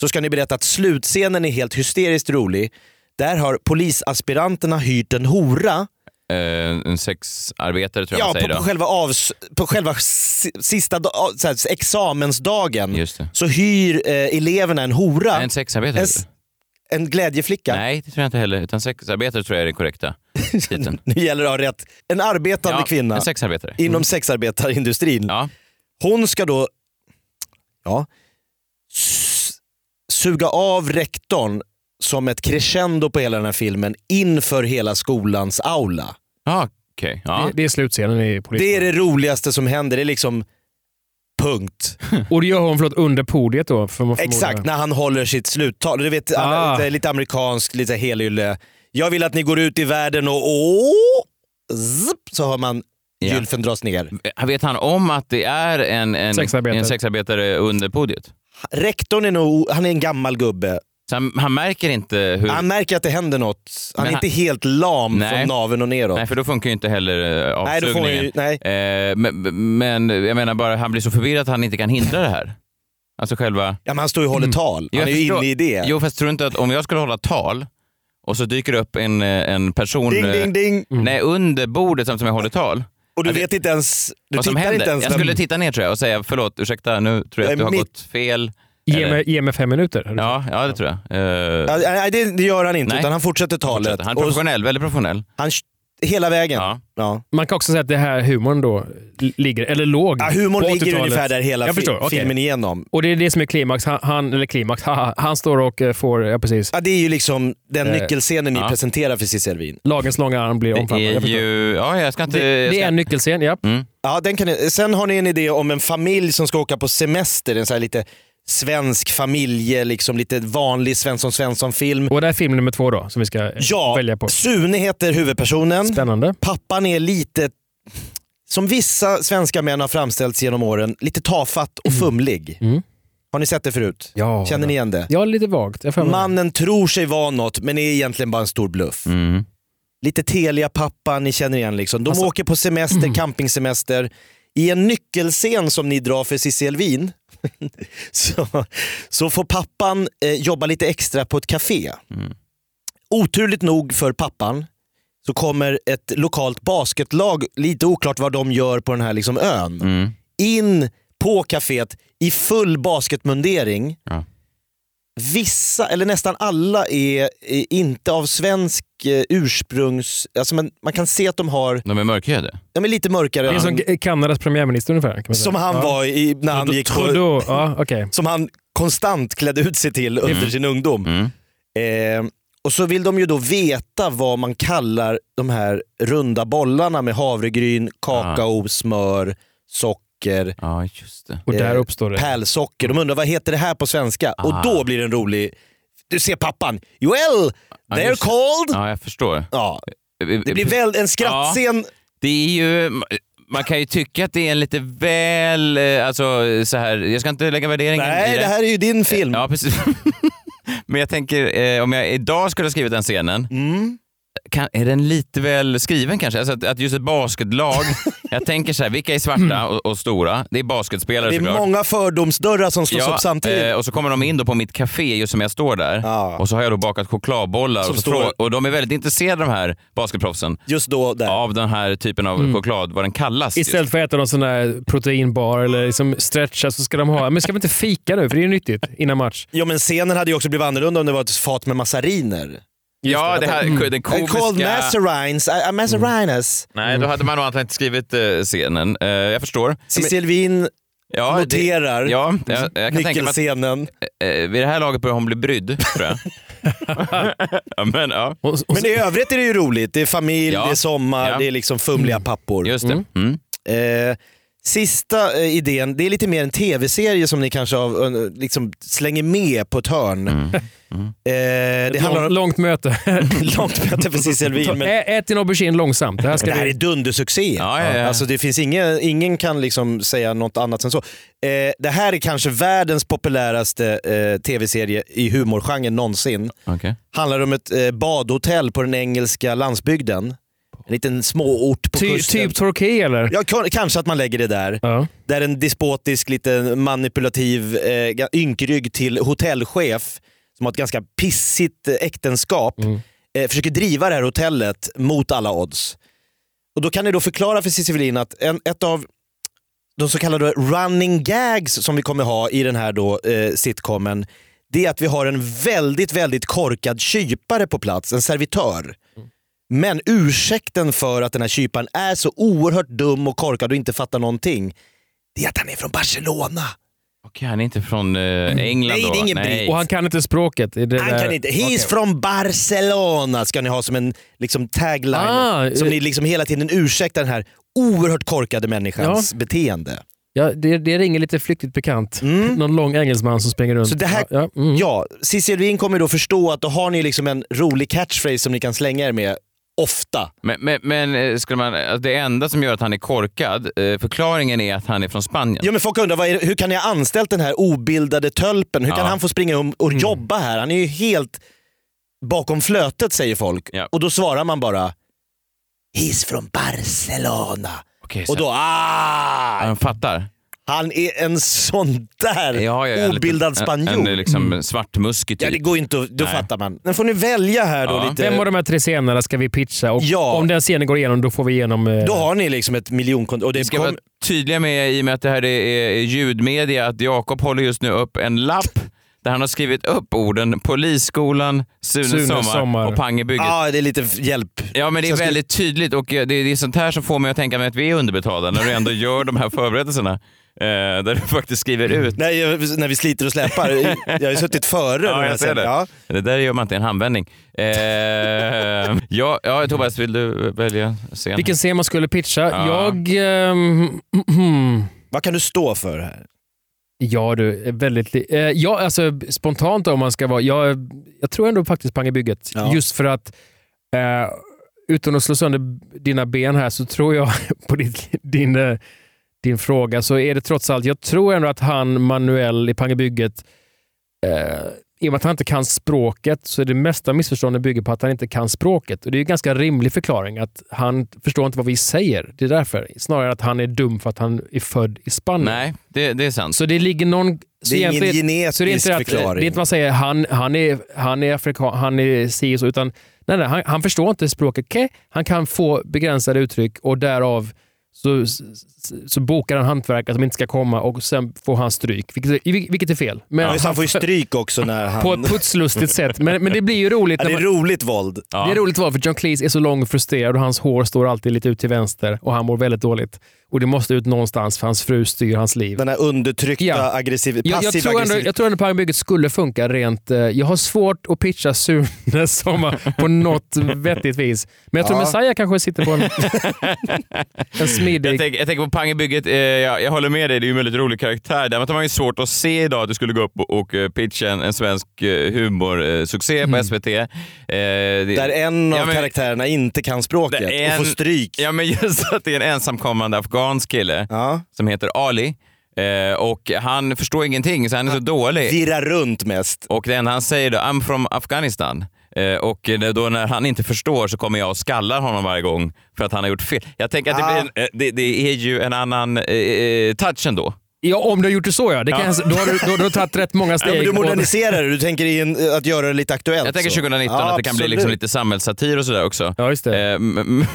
Speaker 3: så ska ni berätta att slutscenen är helt hysteriskt rolig. Där har polisaspiranterna hyrt en hora
Speaker 2: Eh, en sexarbetare tror jag
Speaker 3: ja,
Speaker 2: man säger
Speaker 3: på,
Speaker 2: då.
Speaker 3: på själva, avs, på själva si- sista da, så här, examensdagen så hyr eh, eleverna en hora. En
Speaker 2: sexarbetare?
Speaker 3: En, s- en glädjeflicka.
Speaker 2: Nej, det tror jag inte heller. Utan sexarbetare tror jag är den korrekta titeln.
Speaker 3: Nu gäller det att ha rätt. En arbetande
Speaker 2: Ja,
Speaker 3: kvinna
Speaker 2: en sexarbetare.
Speaker 3: inom
Speaker 2: Mm.
Speaker 3: sexarbetarindustrin. Hon ska då ja, s- suga av rektorn som ett crescendo på hela den här filmen inför hela skolans aula.
Speaker 2: Ah, okay.
Speaker 4: Det, det är slutscenen i polisen.
Speaker 3: Det är det roligaste som händer. Det är liksom punkt.
Speaker 4: Och det gör hon förlåt, under podiet då? För man förmodar.
Speaker 3: Exakt, när han håller sitt sluttal. Du vet, alla-
Speaker 4: Ah.
Speaker 3: lite, lite amerikansk, lite helylle. Jag vill att ni går ut i världen och åh, zip, så har man gylfen dras ner.
Speaker 2: Eh, Vet han om att det är en, en,
Speaker 3: Sexarbetare.
Speaker 2: en sexarbetare under podiet?
Speaker 3: Rektorn är nog, han är en gammal gubbe.
Speaker 2: Så han, han märker inte hur...
Speaker 3: Han märker att det händer något. Han
Speaker 2: Men
Speaker 3: är inte
Speaker 2: han-
Speaker 3: helt lam
Speaker 2: Nej.
Speaker 3: från naveln och neråt.
Speaker 2: Nej, för då funkar ju inte heller eh,
Speaker 3: Nej, då får
Speaker 2: avsugningen. Eh, men, men jag menar bara, han blir så förvirrad att han inte kan hindra det här. Alltså själva...
Speaker 3: Ja, men han står ju och håller tal.
Speaker 2: Mm. Jag
Speaker 3: Han är ju
Speaker 2: förstår-
Speaker 3: inne i det.
Speaker 2: Jo, fast tror du inte att om jag skulle hålla tal och så dyker det upp en, eh, en person
Speaker 3: Ding, ding,
Speaker 2: eh,
Speaker 3: ding.
Speaker 2: Nej, under bordet samtidigt som jag håller tal.
Speaker 3: Och du
Speaker 2: Att det-
Speaker 3: vet inte ens... Du
Speaker 2: vad som
Speaker 3: tittar
Speaker 2: händer.
Speaker 3: inte ens
Speaker 2: jag
Speaker 3: när-
Speaker 2: skulle titta ner tror jag och säga förlåt, ursäkta, nu tror jag,
Speaker 3: Jag
Speaker 2: att
Speaker 3: är
Speaker 2: du har
Speaker 3: mitt-
Speaker 2: gått fel.
Speaker 4: Ge
Speaker 2: Eller-
Speaker 4: mig, ge mig fem minuter.
Speaker 2: Ja, ja, det tror jag. Eh,
Speaker 3: Ja, Nej, det, det gör han inte.
Speaker 2: Nej.
Speaker 3: Utan han fortsätter talet.
Speaker 2: fortsätter. Han är professionell, väldigt professionell.
Speaker 3: Han, hela vägen.
Speaker 2: Ja.
Speaker 4: Man kan också säga att det här humorn då li- ligger, eller låg
Speaker 3: Ja, humorn
Speaker 4: på
Speaker 3: ligger
Speaker 4: 80-talet.
Speaker 3: ungefär där hela
Speaker 4: Jag
Speaker 3: fi-
Speaker 4: förstår, okej.
Speaker 3: filmen igenom.
Speaker 4: Och det är det som är klimax. Han, han eller klimax, haha, han står och eh, får, ja precis.
Speaker 3: Ja, det är ju liksom den
Speaker 4: Eh,
Speaker 3: nyckelscenen ni
Speaker 4: ja.
Speaker 3: presenterar för Cissi Elvin.
Speaker 4: Lagens långa arm blir omfamnad.
Speaker 2: Det är
Speaker 4: Jag förstår.
Speaker 2: ju... Ja, jag ska inte...
Speaker 4: Det,
Speaker 2: jag
Speaker 4: det
Speaker 2: ska...
Speaker 4: är en nyckelscen, ja.
Speaker 3: Mm. Ja, den kan ni, sen har ni en idé om en familj som ska åka på semester. En så här lite svensk familje, liksom lite vanlig Svensson Svensson-film.
Speaker 4: Och det är film nummer två då, som vi ska eh,
Speaker 3: Ja,
Speaker 4: välja på.
Speaker 3: Sune heter huvudpersonen.
Speaker 4: Spännande.
Speaker 3: Pappan är lite, som vissa svenska män har framställts genom åren, lite tafatt och fumlig. Har ni sett det förut?
Speaker 4: Mm. Ja,
Speaker 3: Känner ni igen det?
Speaker 4: Ja, lite vagt. Jag får-
Speaker 3: Mannen tror sig vara något men är egentligen bara en stor bluff.
Speaker 2: Mm,
Speaker 3: Lite Telia-pappa, ni känner igen liksom. De åker på semester, campingsemester. I en nyckelscen som ni drar för Cissi Elvin så, så får pappan eh, jobba lite extra på ett café. Oturligt nog för pappan så kommer ett lokalt basketlag, lite oklart vad de gör på den här liksom ön,
Speaker 2: mm.
Speaker 3: in på caféet i full basketmundering. Vissa, eller nästan alla, är eh, inte av svensk eh, ursprungs... Alltså man, man kan se att de har...
Speaker 2: De är mörkhyade.
Speaker 3: De är lite mörkare.
Speaker 4: Det är
Speaker 3: än-
Speaker 4: som G- Kanadas premiärminister ungefär. Kan man säga.
Speaker 3: som han
Speaker 4: Ja.
Speaker 3: var i, när han
Speaker 4: Trudeau-
Speaker 3: gick
Speaker 4: Trudeau, ja, okej.
Speaker 3: Som han konstant klädde ut sig till under
Speaker 4: Mm.
Speaker 3: sin ungdom.
Speaker 2: Mm.
Speaker 3: Eh, och så vill de ju då veta vad man kallar de här runda bollarna med havregryn,
Speaker 4: Ah.
Speaker 3: kakao, smör, socker.
Speaker 2: Ja, just det.
Speaker 4: Och där uppstår det.
Speaker 3: Pärlsocker. De undrar vad heter det här på svenska? Och
Speaker 2: Ah.
Speaker 3: då blir det en rolig... Du ser pappan. Joel!
Speaker 2: Ja,
Speaker 3: They're
Speaker 2: just det.
Speaker 3: called!
Speaker 2: Ja, jag förstår.
Speaker 3: Ja. Det blir väl en skrattscen.
Speaker 2: det är ju... Man kan ju tycka att det är en lite väl... eh, Alltså, så här, jag ska inte lägga värderingen i
Speaker 3: Nej,
Speaker 2: det.
Speaker 3: det här är ju din film.
Speaker 2: Ja, precis. Men jag tänker, eh, om jag idag skulle ha skrivit den scenen,
Speaker 3: Mm.
Speaker 2: kan, är den lite väl skriven kanske? Alltså att, att just ett basketlag, jag tänker så här, vilka är svarta och, och stora? Det är basketspelare
Speaker 3: Mm. Det är
Speaker 2: såklart.
Speaker 3: många fördomsdörrar som slås upp samtidigt.
Speaker 2: eh, och så kommer de in då på mitt café just som jag står där. Och så har jag då bakat chokladbollar
Speaker 3: Som
Speaker 2: och, så
Speaker 3: står-
Speaker 2: frå- och de är väldigt intresserade de här basketproffsen.
Speaker 3: Just då där.
Speaker 2: Av den här typen av
Speaker 3: Mm.
Speaker 2: choklad, vad den kallas. just.
Speaker 4: Istället för att äta någon sån där proteinbar eller liksom stretcha så ska de ha, men ska vi inte fika nu för det är ju nyttigt innan match.
Speaker 3: Ja men scenen hade ju också blivit annorlunda om det var ett fat med massariner.
Speaker 2: Ja, det här, den
Speaker 3: I called
Speaker 2: komiska... Mm.
Speaker 3: massarines, I, I massarines.
Speaker 2: Nej, då hade man nog antagligen inte skrivit eh, scenen. Eh, jag förstår.
Speaker 3: Cissi Elvin
Speaker 2: Ja,
Speaker 3: noterar
Speaker 2: det, ja, jag, jag kan tänka mig att
Speaker 3: nyckelscenen.
Speaker 2: eh, vid det här laget börjar hon bli brydd, tror jag. ja, men, ja.
Speaker 3: Men i övrigt är det ju roligt. Det är familj,
Speaker 2: Ja.
Speaker 3: det är sommar,
Speaker 2: Ja. Mm.
Speaker 3: det är liksom fumliga pappor.
Speaker 2: Just det. Mm.
Speaker 3: Eh, sista eh, idén, det är lite mer en tv-serie som ni kanske av, eh, liksom slänger med på ett hörn.
Speaker 2: Mm.
Speaker 3: Eh, det handlar
Speaker 4: Lång,
Speaker 3: om
Speaker 4: långt möte.
Speaker 3: långt möte för Cissi
Speaker 4: Ta-
Speaker 3: Elvin. Men...
Speaker 4: Ä, ät din aubergine långsamt. Det här ska
Speaker 3: Det här
Speaker 4: vi-
Speaker 3: är dundersuccé.
Speaker 2: Ja, ja, ja.
Speaker 3: Alltså, det finns ingen, ingen kan liksom säga något annat än så. Eh, det här är kanske världens populäraste eh, tv-serie i humorgenren någonsin.
Speaker 2: Okej.
Speaker 3: Handlar om ett eh, badhotell på den engelska landsbygden. En liten småort på
Speaker 4: Ty,
Speaker 3: kusten.
Speaker 4: typ Torquay eller?
Speaker 3: Ja, k- kanske att man lägger det där.
Speaker 4: Ja.
Speaker 3: Där en despotisk, lite manipulativ eh, ga- ynkrygg till hotellchef som har ett ganska pissigt eh, äktenskap, eh, försöker driva det här hotellet mot alla odds. Och då kan ni då förklara för Cissi Wallin att en, ett av de så kallade running gags som vi kommer ha i den här då, eh, sitcomen, det är att vi har en väldigt, väldigt korkad kypare på plats, en servitör. Men ursäkten för att den här kyparen är så oerhört dum och korkad och inte fattar någonting, det är att han är från Barcelona.
Speaker 2: Okej, han är inte från eh, England
Speaker 3: Mm. Nej,
Speaker 2: då?
Speaker 3: det är ingen britt.
Speaker 4: Och han kan inte språket. Det
Speaker 3: Han kan inte. He's from Barcelona ska ni ha som en liksom, tagline.
Speaker 4: Ah,
Speaker 3: som
Speaker 4: eh.
Speaker 3: ni liksom hela tiden ursäktar den här oerhört korkade människans
Speaker 4: Ja.
Speaker 3: beteende.
Speaker 4: Ja, det, det ringer lite flyktigt bekant. Någon lång engelsman som springer runt.
Speaker 3: Mm.
Speaker 4: mm.
Speaker 3: Så det här, ja, Cissi Elvin kommer då förstå att då har ni liksom en rolig catchphrase som ni kan slänga er med ofta.
Speaker 2: Men, men, men eh, skulle man, alltså, det enda som gör att han är korkad, eh, förklaringen är att han är från Spanien.
Speaker 3: Ja, men folk undrar vad är, det- hur kan ni ha anställt den här obildade tölpen? Hur kan
Speaker 2: Ja.
Speaker 3: han få springa om
Speaker 4: Mm.
Speaker 3: och jobba här? Han är ju helt bakom flötet säger folk. Och då svarar man bara He's from Barcelona.
Speaker 2: Okej,
Speaker 3: och
Speaker 2: så-
Speaker 3: då ah!
Speaker 2: Han fattar.
Speaker 3: Han är en sån där
Speaker 2: Ja, ja, en
Speaker 3: obildad
Speaker 2: liten-
Speaker 3: spanjor. Mm.
Speaker 2: En, en liksom svartmuskig typ.
Speaker 3: Ja, det går ju inte att- då fattar man. Men får ni välja här då
Speaker 2: Ja.
Speaker 3: lite.
Speaker 4: Vem av de här tre scenerna ska vi pitcha? Och
Speaker 3: Eh, Ja.
Speaker 4: Om den scenen går igenom, då får vi igenom... eh,
Speaker 3: Då har ni liksom ett miljonkonto. Och det
Speaker 2: ska vara tydliga med, i och med att det här är, är ljudmedia, att Jakob håller just nu upp en lapp där han har skrivit upp orden Polisskolan, Sune,
Speaker 4: Sune
Speaker 2: sommar,
Speaker 4: Sommar.
Speaker 2: och Pangebygget.
Speaker 3: Ja, det är lite hjälp.
Speaker 2: Ja, men det är
Speaker 3: Sen ska-
Speaker 2: väldigt tydligt och eh, det är, det är sånt här som får mig att tänka mig att vi är underbetalda när du ändå gör de här förberedelserna. Eh, där du faktiskt skriver ut.
Speaker 3: Nej, jag- när vi sliter och släpar. Jag har ju suttit före. de
Speaker 2: Ja,
Speaker 3: här
Speaker 2: jag ser det.
Speaker 3: scenerna. Ja.
Speaker 2: Det där gör man inte i en handvändning. Eh, ja, ja, Tobias, vill du eh, välja scen?
Speaker 4: Vilken scen man skulle pitcha?
Speaker 2: Ja.
Speaker 4: Jag... ehm,
Speaker 3: Vad kan du stå för här?
Speaker 4: Ja du, väldigt... li- Eh, ja, alltså spontant om man ska vara... Jag, jag tror ändå faktiskt Pang i bygget.
Speaker 2: Ja.
Speaker 4: Just för att... Eh, utan att slå sönder dina ben här så tror jag på ditt, din, eh, din fråga så är det trots allt... Jag tror ändå att han, Manuel i Pang i bygget, eh, i och med att han inte kan språket så är det mesta missförstånden bygger på att han inte kan språket. Och Det är ju en ganska rimlig förklaring att han förstår inte vad vi säger. Det är därför. Snarare att han är dum för att han är född i Spanien.
Speaker 2: Nej, det, det är sant.
Speaker 4: Så det ligger någon... så
Speaker 2: Det är ingen
Speaker 4: egentligen-
Speaker 2: genetisk
Speaker 4: så det är inte att,
Speaker 2: förklaring.
Speaker 4: Det är inte man säger han, han är, han är afrikan, han är si och så, utan nej, nej, han, han förstår inte språket. Okej, Han kan få begränsade uttryck och därav så, så, så bokar han hantverkare som inte ska komma och sen får han stryk, vilket, vilket är fel. Men
Speaker 3: Ja, just han får ju stryk också när han...
Speaker 4: På ett putslustigt sätt, men, men det blir ju roligt.
Speaker 3: Ja,
Speaker 4: när
Speaker 3: det är
Speaker 4: man,
Speaker 3: roligt våld.
Speaker 4: det är roligt val för John Cleese är så lång och frustrerad och hans hår står alltid lite ut till vänster och han mår väldigt dåligt. Och det måste ut någonstans för hans fru styr hans liv.
Speaker 3: Den här undertryckta,
Speaker 4: Ja.
Speaker 3: aggressiv,
Speaker 4: Jag, jag,
Speaker 3: passiv
Speaker 4: tror ändå,
Speaker 3: aggressiv.
Speaker 4: jag tror ändå pangbygget skulle funka rent... eh, Jag har svårt att pitcha Sune Sommar på något vettigt vis. Men jag tror
Speaker 2: Ja.
Speaker 4: Messiah kanske sitter på en... en smidig...
Speaker 2: Jag, tänker- jag tänker på Pang i bygget, eh, jag, jag håller med dig, det är ju en väldigt rolig karaktär. Däremot har man ju svårt att se idag att du skulle gå upp och, och eh, pitcha en, en svensk eh, humorsuccé på SVT. Eh, det-
Speaker 3: Mm. Där en av
Speaker 2: Ja, men-
Speaker 3: karaktärerna inte kan språket
Speaker 2: Det är
Speaker 3: och
Speaker 2: en-
Speaker 3: får stryk.
Speaker 2: Ja, men just att det är en ensamkommande afghansk kille som heter Ali. Eh, och han förstår ingenting, så han är så dålig.
Speaker 3: Virrar runt mest.
Speaker 2: Och det enda han säger då, I'm from Afghanistan. Eh, och eh, då när han inte förstår så kommer jag och skallar honom varje gång för att han har gjort fel. Jag tänker att det,
Speaker 4: Ah.
Speaker 2: blir en, eh, det, det är ju en annan eh, eh, touch ändå.
Speaker 4: Ja, om du har gjort det så ja. Det kan
Speaker 2: Ja.
Speaker 4: jag s- då, har du, då, då har du tagit rätt många
Speaker 3: Ja,
Speaker 4: steg.
Speaker 3: men du
Speaker 4: Och-
Speaker 3: moderniserar det, du tänker i en, att göra det lite aktuellt.
Speaker 2: Jag tänker
Speaker 3: så.
Speaker 2: 2019
Speaker 3: Alltså. Ja,
Speaker 2: att det kan bli
Speaker 3: absolut.
Speaker 2: liksom lite samhällssatir och sådär också. Ja, just
Speaker 3: Eh.
Speaker 2: det.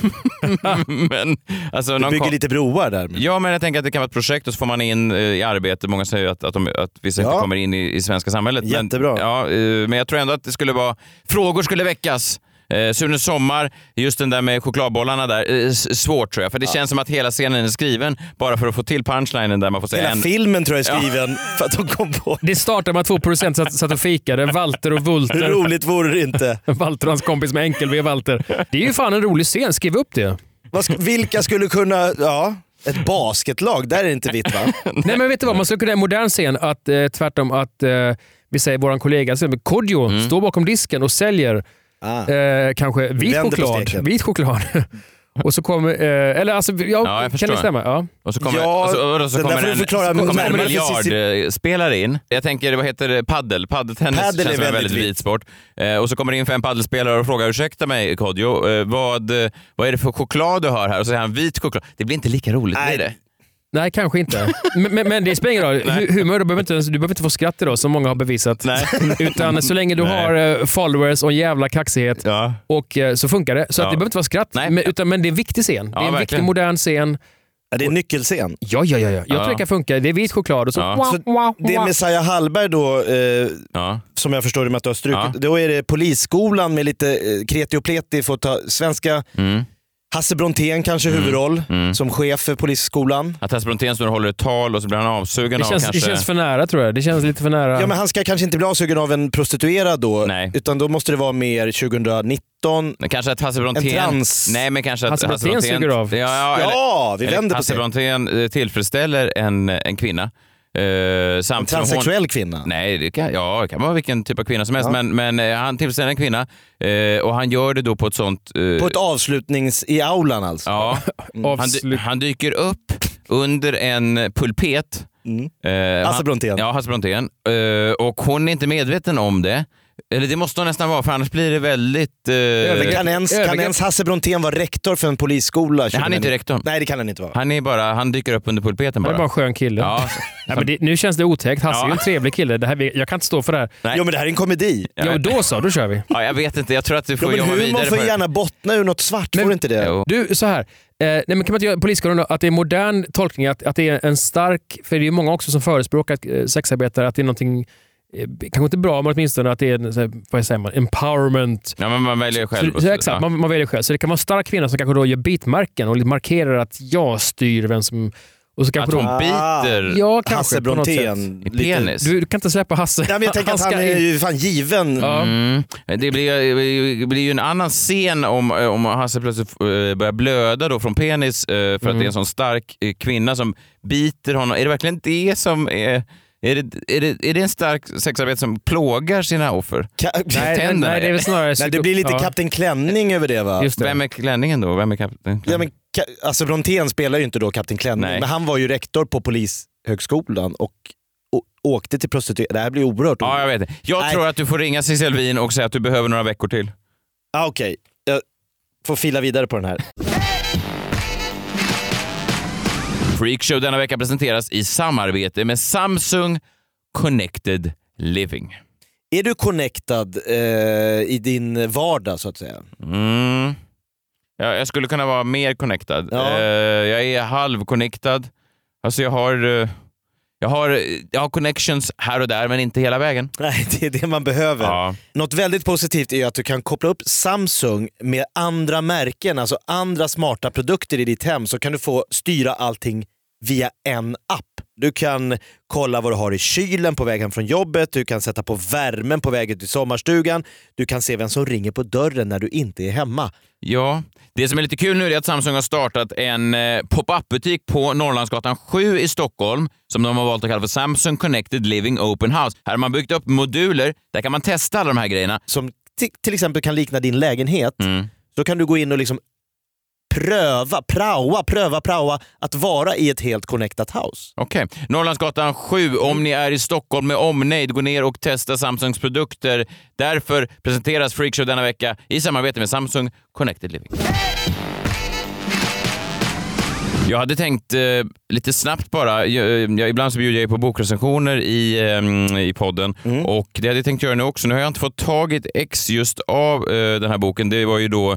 Speaker 2: men, alltså,
Speaker 3: Du
Speaker 2: någon
Speaker 3: bygger
Speaker 2: kom-
Speaker 3: lite broar där.
Speaker 2: Ja, men jag tänker att det kan vara ett projekt och så får man in eh, i arbete. Många säger ju att, att, de, att vissa inte kommer in i, i svenska samhället. Jättebra. Men, ja, eh, men jag tror ändå att det skulle vara... Frågor skulle väckas. Eh, Sune Sommar, just den där med chokladbollarna där, eh, s- svårt tror jag. För det känns som att hela scenen är skriven bara för att få till punchlinen där man får säga
Speaker 3: Hela
Speaker 2: en...
Speaker 3: filmen tror jag är skriven för att de kom på
Speaker 4: Det startade med att två producenter satt, satt och fikade, Walter och Vulter.
Speaker 3: Hur roligt vore det inte?
Speaker 4: Walter och hans kompis med enkel-V Walter. Det är ju fan en rolig scen, skriv upp det.
Speaker 3: Vad sk- vilka skulle kunna... Ja, ett basketlag, där är det inte vitt va?
Speaker 4: Nej men vet du vad, man skulle kunna i en modern scen att eh, tvärtom att eh, vi säger våran kollega till exempel, Kodjo
Speaker 2: Mm.
Speaker 4: står bakom disken och säljer eh, kanske vit
Speaker 2: Ah. Vänder på
Speaker 4: choklad.
Speaker 2: steken.
Speaker 4: Vit choklad. och så kommer, eh, eller alltså, ja,
Speaker 2: Ja, jag
Speaker 4: kan
Speaker 2: förstår.
Speaker 4: det stämma? Ja.
Speaker 2: Och så kommer,
Speaker 4: Ja,
Speaker 2: och så, och så
Speaker 4: den där
Speaker 2: kommer
Speaker 4: får du
Speaker 2: en,
Speaker 4: förklara
Speaker 2: så kommer en
Speaker 4: närmare för
Speaker 2: miljardspelare in. Jag tänker, vad heter det? Paddel. Paddeltennis
Speaker 3: Paddel är
Speaker 2: känns som en
Speaker 3: väldigt
Speaker 2: väldigt vit sport. Eh, och så kommer det in fem paddelspelare och frågar, ursäkta mig Kodjo, eh, vad, eh, vad är det för choklad du har här? Och så säger han vit choklad. Det blir inte lika roligt, blir det?
Speaker 4: Nej, kanske inte. Men, men, men det spelar ingen roll. Hu- Humor, du behöver, inte, ens- du behöver inte få skratt idag, som många har bevisat.
Speaker 2: Nej.
Speaker 4: Utan så länge du
Speaker 2: Nej.
Speaker 4: har eh, followers och en jävla kaxighet, och, eh, så funkar det. Så
Speaker 2: Ja.
Speaker 4: att det behöver inte vara skratt, men, utan, men det är en viktig scen.
Speaker 2: Ja,
Speaker 4: det är en viktig
Speaker 2: verkligen.
Speaker 4: modern scen.
Speaker 3: Ja, det är en nyckelscen.
Speaker 4: Ja, ja, ja. ja. Jag
Speaker 3: Ja.
Speaker 4: tror det kan funka. Det är vit choklad och så...
Speaker 3: Så det är Messiah Hallberg då, eh, som jag förstår det med att du har strukit. Då är det Polisskolan med lite eh, kreti och pleti, får ta svenska.
Speaker 2: Mm.
Speaker 3: Hasse Brontén kanske huvudroll som chef för Polisskolan.
Speaker 2: Att Hasse Brontén står och håller ett tal och så blir han avsugen
Speaker 4: Det
Speaker 2: av
Speaker 4: känns, det
Speaker 2: kanske...
Speaker 4: känns för nära tror jag. Det känns lite för nära.
Speaker 3: Ja, men han ska kanske inte bli avsugen av en prostituerad då, utan då måste det vara mer 2019.
Speaker 2: Kanske att Hasse
Speaker 3: En
Speaker 2: Brontén...
Speaker 3: trans...
Speaker 2: Nej, men kanske att
Speaker 3: Hasse Brontén suger av.
Speaker 2: Ja, ja, eller,
Speaker 3: Ja, vi
Speaker 2: eller
Speaker 3: vänder på
Speaker 2: Hasse
Speaker 3: det.
Speaker 2: Brontén eh, tillfredsställer en, en kvinna. eh, samtidigt som
Speaker 3: transsexuell
Speaker 2: hon,
Speaker 3: kvinna?
Speaker 2: Nej, det kan, ja, det kan vara vilken typ av kvinna som helst. Men, men eh, han tillfredsställer en kvinna eh, och han gör det då på ett sånt... eh,
Speaker 3: På ett avslutnings... I aulan alltså?
Speaker 2: Ja. Han, dy- han dyker upp under en pulpet. Eh,
Speaker 3: mm. Hasse
Speaker 4: Alltså-
Speaker 2: han-
Speaker 3: Brontén.
Speaker 2: Ja, Hasse Brontén. Eh, och hon är inte medveten om det. Eller det måste hon nästan vara, för annars blir det väldigt... eh,
Speaker 3: Kan ens, kan ens Hasse Brontén vara rektor för en polisskola?
Speaker 2: Nej, han är inte
Speaker 3: 2019?
Speaker 2: rektorn.
Speaker 3: Nej, det kan han inte vara.
Speaker 2: Han, är bara, han dyker upp under pulpeten
Speaker 4: Han
Speaker 2: bara.
Speaker 4: är bara en skön kille.
Speaker 2: Ja.
Speaker 4: Nej, men det, nu känns det otäckt. Hasse är ju en trevlig kille. Det här, jag kan inte stå för det här.
Speaker 3: Jo, men det här är en komedi.
Speaker 4: Ja, då så. Då kör vi.
Speaker 2: Ja, jag vet inte, jag tror att du
Speaker 3: Jo,
Speaker 2: får
Speaker 3: men
Speaker 2: jobba
Speaker 3: humor
Speaker 2: vidare
Speaker 3: får
Speaker 2: på det.
Speaker 3: gärna bottna ur något svart, får det inte det?
Speaker 4: Du, så här. Eh, nej, men kan man inte göra polisskolan då, att det är modern tolkning, att, att det är en stark... För det är ju många också som förespråkar eh, sexarbetare, att det är någonting, eh, kanske inte bra, men åtminstone att det är en, så här, vad säger man, empowerment.
Speaker 2: Ja, men man väljer själv.
Speaker 4: Så, så, exakt, man, man väljer själv. Så det kan vara en stark kvinna som kanske då gör bitmärken och markerar att jag styr vem som... Och så kanske
Speaker 2: Att hon
Speaker 4: då,
Speaker 2: biter
Speaker 4: ja, kanske,
Speaker 3: Hasse
Speaker 4: på något
Speaker 3: Brontén.
Speaker 4: sätt.
Speaker 2: I penis.
Speaker 4: Du, du kan inte släppa Hasse.
Speaker 3: Nej, men jag tänker att
Speaker 4: ska
Speaker 3: han är
Speaker 4: in.
Speaker 3: ju fan given.
Speaker 2: Mm. Det blir, det blir ju en annan scen om, om Hasse plötsligt eh, börjar blöda då från penis eh, för att det är
Speaker 3: Mm.
Speaker 2: en sån stark eh, kvinna som biter honom. Är det verkligen det som är... Är det, är, det, är det en stark sexarbetare som plågar sina offer?
Speaker 3: Ka-
Speaker 2: Tänderna,
Speaker 3: Nej, det blir lite Kapten Klänning över det va?
Speaker 2: Vem är klänningen då? Vem är kapten?
Speaker 3: Ja, men Ka- alltså Brontén spelar ju inte då Kapten Klänning, men han var ju rektor på Polishögskolan och å- åkte till prostituerade. Det här blir oerhört
Speaker 2: Ja, jag vet det. Jag tror att du får ringa Cissi Wien och säga att du behöver några veckor till.
Speaker 3: Ah, Okej, jag får fila vidare på den här.
Speaker 2: Freakshow denna vecka presenteras i samarbete med Samsung Connected Living.
Speaker 3: Är du connectad eh, i din vardag så att säga?
Speaker 2: Mm. Ja, jag skulle kunna vara mer connectad. Eh, jag är halvconnectad. Alltså jag har, eh, jag, har, jag har connections här och där, men inte hela vägen.
Speaker 3: Nej, det är det man behöver. Något väldigt positivt är att du kan koppla upp Samsung med andra märken, alltså andra smarta produkter i ditt hem, så kan du få styra allting via en app. Du kan kolla vad du har i kylen på väg hem från jobbet, du kan sätta på värmen på vägen till sommarstugan, du kan se vem som ringer på dörren när du inte är hemma.
Speaker 2: Ja, det som är lite kul nu är att Samsung har startat en eh, pop-up-butik på Norrlandsgatan 7 i Stockholm som de har valt att kalla för Samsung Connected Living Open House. Här har man byggt upp moduler, där kan man testa alla de här grejerna.
Speaker 3: Som Till, till exempel kan likna din lägenhet, då kan du gå in och liksom pröva, praoa, pröva, praoa att vara i ett helt connectat house.
Speaker 2: Okej. Norrlandsgatan 7. Om ni är i Stockholm med omnejd, gå ner och testa Samsungs produkter. Därför presenteras Freakshow denna vecka i samarbete med Samsung Connected Living. Jag hade tänkt eh, lite snabbt bara, jag, jag, ibland så bjuder jag ju på bokrecensioner i, ehm, i podden
Speaker 3: Mm.
Speaker 2: och det hade jag tänkt göra nu också. Nu har jag inte fått tag i ett ex just av eh, den här boken. Det var ju då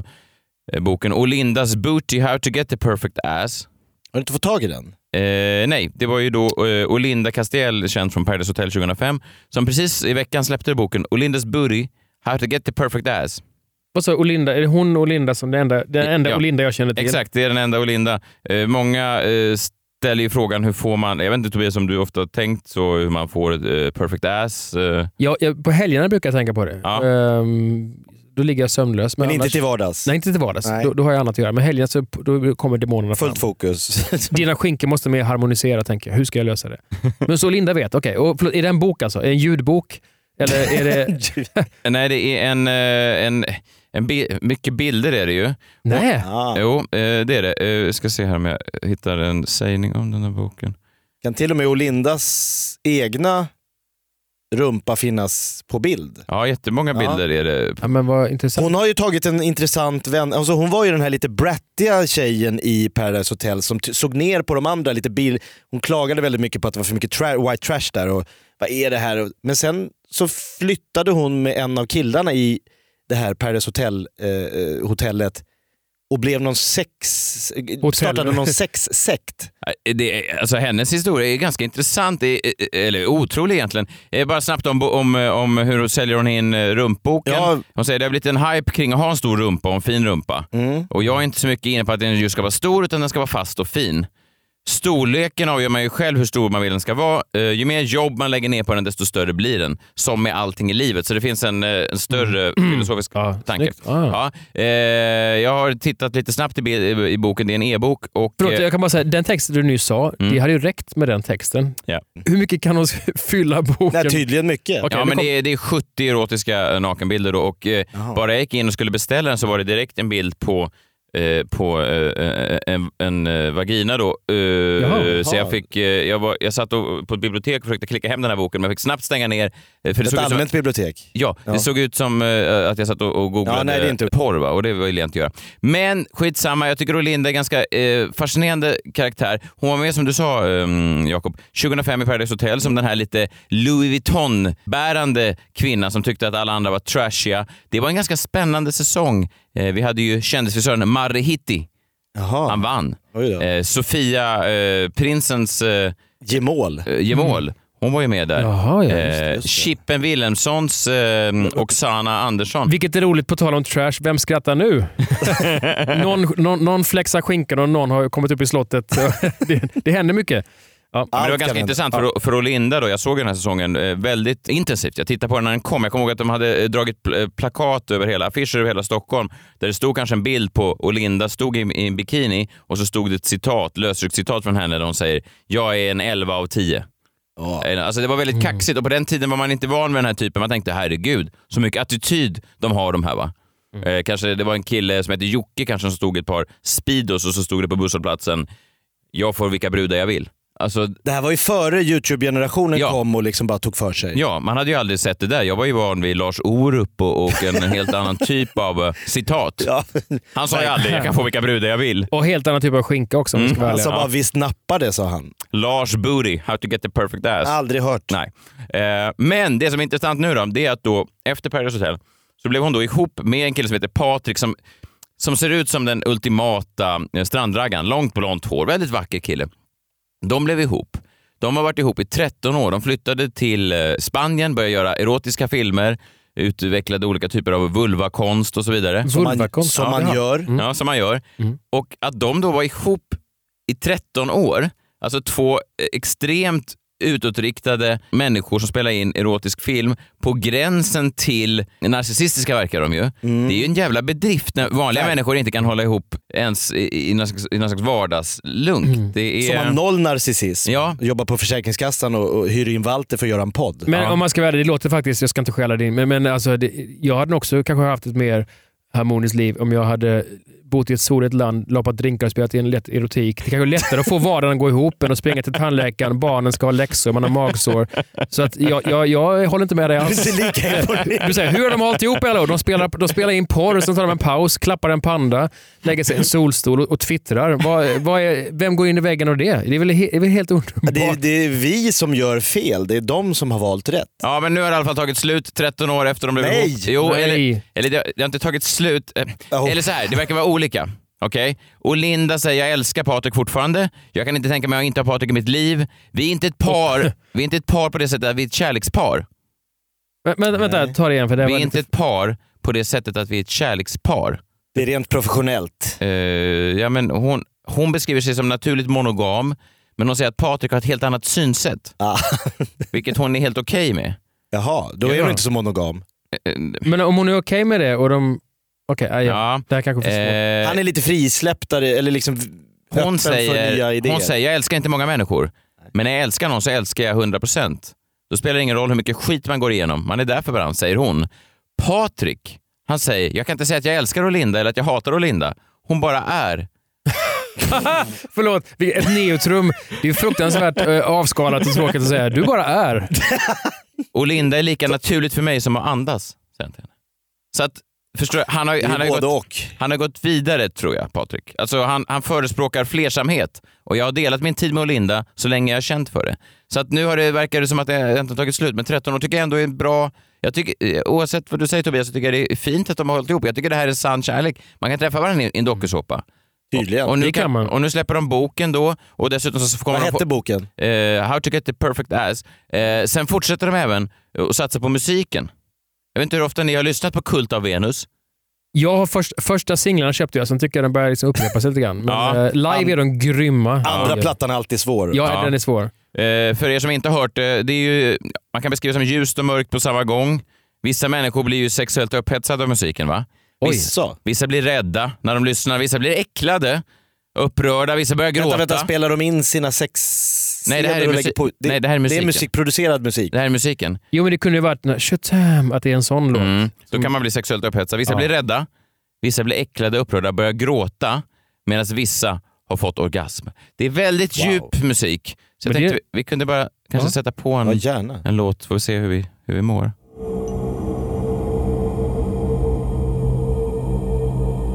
Speaker 2: eh, boken Olindas Booty, How to get the perfect ass.
Speaker 3: Har du inte fått tag i den?
Speaker 2: Eh, nej, det var ju då eh, Olinda Castiel, känd från Paradise Hotel 2005, som precis i veckan släppte boken Olindas Booty, How to get the perfect ass.
Speaker 4: Vad sa Olinda? Är det hon och Olinda som den enda, den enda
Speaker 2: Ja.
Speaker 4: Olinda jag känner till?
Speaker 2: Exakt, det är den enda Olinda. Eh, många eh, ställer ju frågan hur får man, jag vet inte Tobias om du ofta har tänkt så, hur man får ett eh, perfect ass. Eh,
Speaker 4: Ja, jag, på helgerna brukar jag tänka på det. Ehm, då ligger jag sömnlös.
Speaker 3: Men inte till vardags?
Speaker 4: Nej, inte till vardags.
Speaker 3: Nej.
Speaker 4: Då, då har jag annat att göra. Men helgen så då kommer demonerna
Speaker 3: Fullt fokus.
Speaker 4: Dina skinkor måste mer harmonisera, tänker jag. Hur ska jag lösa det? Men så Linda vet. Okej, Och förlåt, är det en bok alltså? Är det en ljudbok? Eller är det...
Speaker 2: Nej, det är en, eh, en, en bi- mycket bilder är det ju.
Speaker 4: Nej.
Speaker 2: Och, jo, eh, det är det. Eh, Jag ska se här om jag hittar en sägning om den här boken.
Speaker 3: Kan till och med Olindas egna rumpa finnas på bild.
Speaker 2: Ja, jättemånga bilder är det.
Speaker 4: Ja, men vad intressant.
Speaker 3: Hon har ju tagit en intressant vän. Alltså hon var ju den här lite brattiga tjejen i Paradise Hotel som t- såg ner på de andra. lite bil. Hon klagade väldigt mycket på att det var för mycket tra- white trash där. Och, vad är det här? Och- Men sen så flyttade hon med en av killarna i det här Paradise Hotel, eh, eh, hotellet och blev någon sex...
Speaker 2: Hotell.
Speaker 3: Startade någon sexsekt.
Speaker 2: Det, är- alltså, hennes historia är ganska intressant, det är, eller otrolig egentligen. Eh, Bara snabbt om, om, om hur hon säljer hon in eh, rumpboken. Hon säger det har blivit en hype kring att ha en stor rumpa och en fin rumpa.
Speaker 3: Mm.
Speaker 2: Och jag är inte så mycket inne på att den just ska vara stor, utan den ska vara fast och fin. Storleken avgör man ju själv hur stor man vill den ska vara. Eh, ju mer jobb man lägger ner på den, desto större blir den. Som med allting i livet. Så det finns en, eh, en större filosofisk tanke. Ja. Eh, jag har tittat lite snabbt i, bi- i boken, det är en e-bok. Och,
Speaker 4: Förlåt,
Speaker 2: eh,
Speaker 4: jag kan bara säga, den texten du nyss sa, det hade ju räckt med den texten.
Speaker 2: Mm. Ja.
Speaker 4: Hur mycket kan hon fylla boken? Okej,
Speaker 2: ja,
Speaker 4: nu
Speaker 2: men
Speaker 4: kom-
Speaker 2: det, är, det är 70 erotiska eh, nakenbilder då, och eh, bara jag gick in och skulle beställa den så var det direkt en bild på eh, på eh, en, en eh, vagina då. Eh,
Speaker 3: Jaha.
Speaker 2: så jag, fick, eh, jag, var, jag satt och, på ett bibliotek och försökte klicka hem den här boken, men jag fick snabbt stänga ner. eh, För
Speaker 3: Ett
Speaker 2: såg ut som-
Speaker 3: allmänt bibliotek.
Speaker 2: Ja, det
Speaker 3: Ja.
Speaker 2: såg ut som eh, att jag satt och, och googlade
Speaker 3: Ja, nej, det är inte-
Speaker 2: porr va? och det vill jag inte göra. Men skitsamma, jag tycker Olinda är en ganska eh, fascinerande karaktär. Hon var med som du sa um, Jakob, 2005 i Paradise Hotel som den här lite Louis Vuitton-bärande kvinnan som tyckte att alla andra var trashiga. Det var en ganska spännande säsong. Eh, vi hade ju kändisfrisören Marre Hitti. Han vann. Eh, Sofia, eh, prinsens... Eh,
Speaker 3: gemål.
Speaker 2: Eh, gemål.
Speaker 3: Mm.
Speaker 2: Hon var ju med där.
Speaker 4: Jaha, ja, just
Speaker 2: eh, Chippen Wilhelmssons eh, Oksana Andersson.
Speaker 4: Vilket är roligt, på tal om trash, vem skrattar nu? någon, någon, någon flexar skinkan och någon har kommit upp i slottet. det, det händer mycket. Ja.
Speaker 2: Ja, men det var ganska intressant för, för Olinda. Då, jag såg den här säsongen eh, väldigt intensivt. Jag tittade på den när den kom. Jag kommer ihåg att de hade eh, dragit pl- eh, plakat över hela, affischer över hela Stockholm där det stod kanske en bild på Olinda stod i, i en bikini och så stod det ett citat, lösryckt citat från henne där hon säger “Jag är en 11 av 10”. Eh, Alltså det var väldigt kaxigt och på den tiden var man inte van vid den här typen. Man tänkte herregud, så mycket attityd de har de här va. Eh, kanske det var en kille som hette Jocke kanske som stod i ett par Speedos och så stod det på busshållplatsen “Jag får vilka brudar jag vill”. Alltså,
Speaker 3: Det här var ju före Youtube-generationen
Speaker 2: Ja.
Speaker 3: kom och liksom bara tog för sig.
Speaker 2: Ja, man hade ju aldrig sett det där. Jag var ju van vid Lars Orup och, och en helt annan typ av eh, citat. Han sa ju aldrig “jag kan få vilka brudar jag vill”.
Speaker 4: Och helt annan typ av skinka också. om vi ska vara
Speaker 2: Han
Speaker 4: ärliga.
Speaker 2: sa bara,
Speaker 3: Visst nappade sa han.
Speaker 2: Lars Booty, How to get the perfect ass.
Speaker 3: Aldrig hört.
Speaker 2: Nej. Eh, men det som är intressant nu då, det är att då efter Paradise Hotel så blev hon då ihop med en kille som heter Patrik som, som ser ut som den ultimata eh, strandraggaren. Långt blont hår, väldigt vacker kille. De blev ihop. De har varit ihop i 13 år. De flyttade till eh, Spanien, började göra erotiska filmer, utvecklade olika typer av vulvakonst och så vidare.
Speaker 3: Som man- Vulvakonst? som
Speaker 2: Ja,
Speaker 3: man
Speaker 2: ja.
Speaker 3: gör.
Speaker 2: Ja, som man gör.
Speaker 3: Mm.
Speaker 2: Och att de då var ihop i 13 år, alltså två eh, extremt utåtriktade människor som spelar in erotisk film på gränsen till narcissistiska verkar de ju.
Speaker 3: Mm.
Speaker 2: Det är ju en jävla bedrift när vanliga människor inte kan hålla ihop ens i, i, någon, slags, i någon slags vardagslunk. Det
Speaker 3: Mm. Som
Speaker 2: är...
Speaker 3: har noll narcissism.
Speaker 2: Ja.
Speaker 3: Jobbar på Försäkringskassan och, och hyr in Walter för att göra en podd.
Speaker 4: Men om man ska vara ärlig, det låter faktiskt, jag ska inte stjäla din, men, men alltså, det, jag hade nog också kanske haft ett mer harmoniskt liv om jag hade bott i ett soligt land, lapat drinkar och spelat in lätt erotik. Det kanske är lättare att få vardagen att gå ihop än att springa till tandläkaren, barnen ska ha läxor, man har magsår. Så att jag, jag, jag håller inte med dig alls.
Speaker 3: Du är inte lika imponerad.
Speaker 4: Du säger, hur har de hållit ihop i alla år? De spelar, de spelar in porr, sen tar de en paus, klappar en panda, lägger sig i en solstol och, och twittrar. Vad, vad är, vem går in i väggen av det? Det är väl, he, det är väl helt underbart?
Speaker 3: Det, är- det är vi som gör fel. Det är de som har valt rätt.
Speaker 2: Ja, men nu har det i alla fall tagit slut 13 år efter de blev
Speaker 3: Nej!
Speaker 2: ihop. Jo,
Speaker 3: Nej.
Speaker 2: Eller, eller det, det har inte tagit slut. Eh,
Speaker 4: Oh.
Speaker 2: Eller så här, det verkar vara olika. Okej? Och Linda säger jag älskar Patrik fortfarande. Jag kan inte tänka mig att inte ha Patrik i mitt liv. Vi är inte ett
Speaker 4: Oh.
Speaker 2: par, vi är inte ett par på det sättet att vi är ett kärlekspar.
Speaker 4: Men, men, vänta, ta det igen. För det
Speaker 2: Vi
Speaker 4: var
Speaker 2: är
Speaker 4: lite-
Speaker 2: inte ett par på det sättet att vi är ett kärlekspar. Eh,
Speaker 3: Det är rent professionellt.
Speaker 2: ja, men hon, hon beskriver sig som naturligt monogam, men hon säger att Patrik har ett helt annat synsätt.
Speaker 4: Ah.
Speaker 2: Vilket hon är helt okej med.
Speaker 3: Jaha, då är hon inte så monogam.
Speaker 4: Men om hon är okej med det och de... Okej, okay, ja. det här kanske är för
Speaker 2: Eh.
Speaker 4: svårt.
Speaker 3: Han är lite frisläpptare, eller liksom öppen
Speaker 2: Hon
Speaker 3: för nya
Speaker 2: säger,
Speaker 3: idéer.
Speaker 2: hon säger jag älskar inte många människor, men när jag älskar någon så älskar jag 100%. Då spelar det ingen roll hur mycket skit man går igenom, man är där för varandra, säger hon. Patrik, han säger, jag kan inte säga att jag älskar Olinda eller att jag hatar Olinda. Hon bara är.
Speaker 4: Förlåt, vilket- ett neutrum. Det är ju fruktansvärt eh, avskalat och tråkigt att säga. Du bara är.
Speaker 2: Och Linda är lika naturligt för mig som att andas, säger han till henne. Så att, förstår du, han har,
Speaker 3: är
Speaker 2: han, har ju
Speaker 3: både
Speaker 2: gått, han har gått vidare tror jag, Patrik. Alltså, han, han förespråkar flersamhet och jag har delat min tid med Linda så länge jag har känt för det. Så att nu har det, verkar det som att det äntligen har tagit slut, men 13 år tycker jag ändå är en bra... Jag tycker, eh, oavsett vad du säger Tobias, så tycker jag det är fint att de har hållit ihop. Jag tycker det här är sann kärlek. Man kan träffa varandra i en dokusåpa.
Speaker 3: Tydligen.
Speaker 2: Och, och, nu
Speaker 3: Det kan
Speaker 2: kan,
Speaker 3: man.
Speaker 2: och nu släpper de boken då och dessutom så kommer
Speaker 3: Vad
Speaker 2: de
Speaker 3: hette
Speaker 2: få-
Speaker 3: boken?
Speaker 2: Eh, How to get the perfect ass. Eh, sen fortsätter de även att satsa på musiken. Jag vet inte hur ofta ni har lyssnat på Kult av Venus.
Speaker 4: Jag har först, första singlarna köpte jag, sen tycker jag den börjar liksom upprepa sig lite grann. Men
Speaker 2: Ja.
Speaker 4: eh, live är de grymma.
Speaker 2: Andra
Speaker 3: plattan är alltid svår.
Speaker 4: Ja, den är svår.
Speaker 2: Eh, för er som inte har hört det, det är ju, man kan beskriva som ljust och mörkt på samma gång. Vissa människor blir ju sexuellt upphetsade av musiken va?
Speaker 3: Oj.
Speaker 2: Vissa, vissa blir rädda när de lyssnar, vissa blir äcklade, upprörda, vissa börjar gråta.
Speaker 3: Vänta, vänta, spelar de in sina sex...
Speaker 2: Nej, det här är
Speaker 3: scener och
Speaker 2: musi-
Speaker 3: lägger på- det,
Speaker 2: Nej, det här är
Speaker 3: Det
Speaker 2: musiken.
Speaker 3: är musikproducerad musik.
Speaker 2: Det här är musiken. Mm.
Speaker 4: Jo, men det kunde ju varit när- Shazam, att det är en sån låt.
Speaker 2: Då
Speaker 3: Mm.
Speaker 2: kan man bli sexuellt upphetsad. Vissa
Speaker 4: Ja.
Speaker 2: blir rädda, vissa blir äcklade, upprörda, börjar gråta, medan vissa har fått orgasm. Det är väldigt djup musik. Så jag
Speaker 3: Men det-
Speaker 2: tänkte vi, vi kunde bara kanske
Speaker 3: Ja.
Speaker 2: sätta på en,
Speaker 3: Ja, gärna.
Speaker 2: en låt, får vi se hur vi, hur vi mår.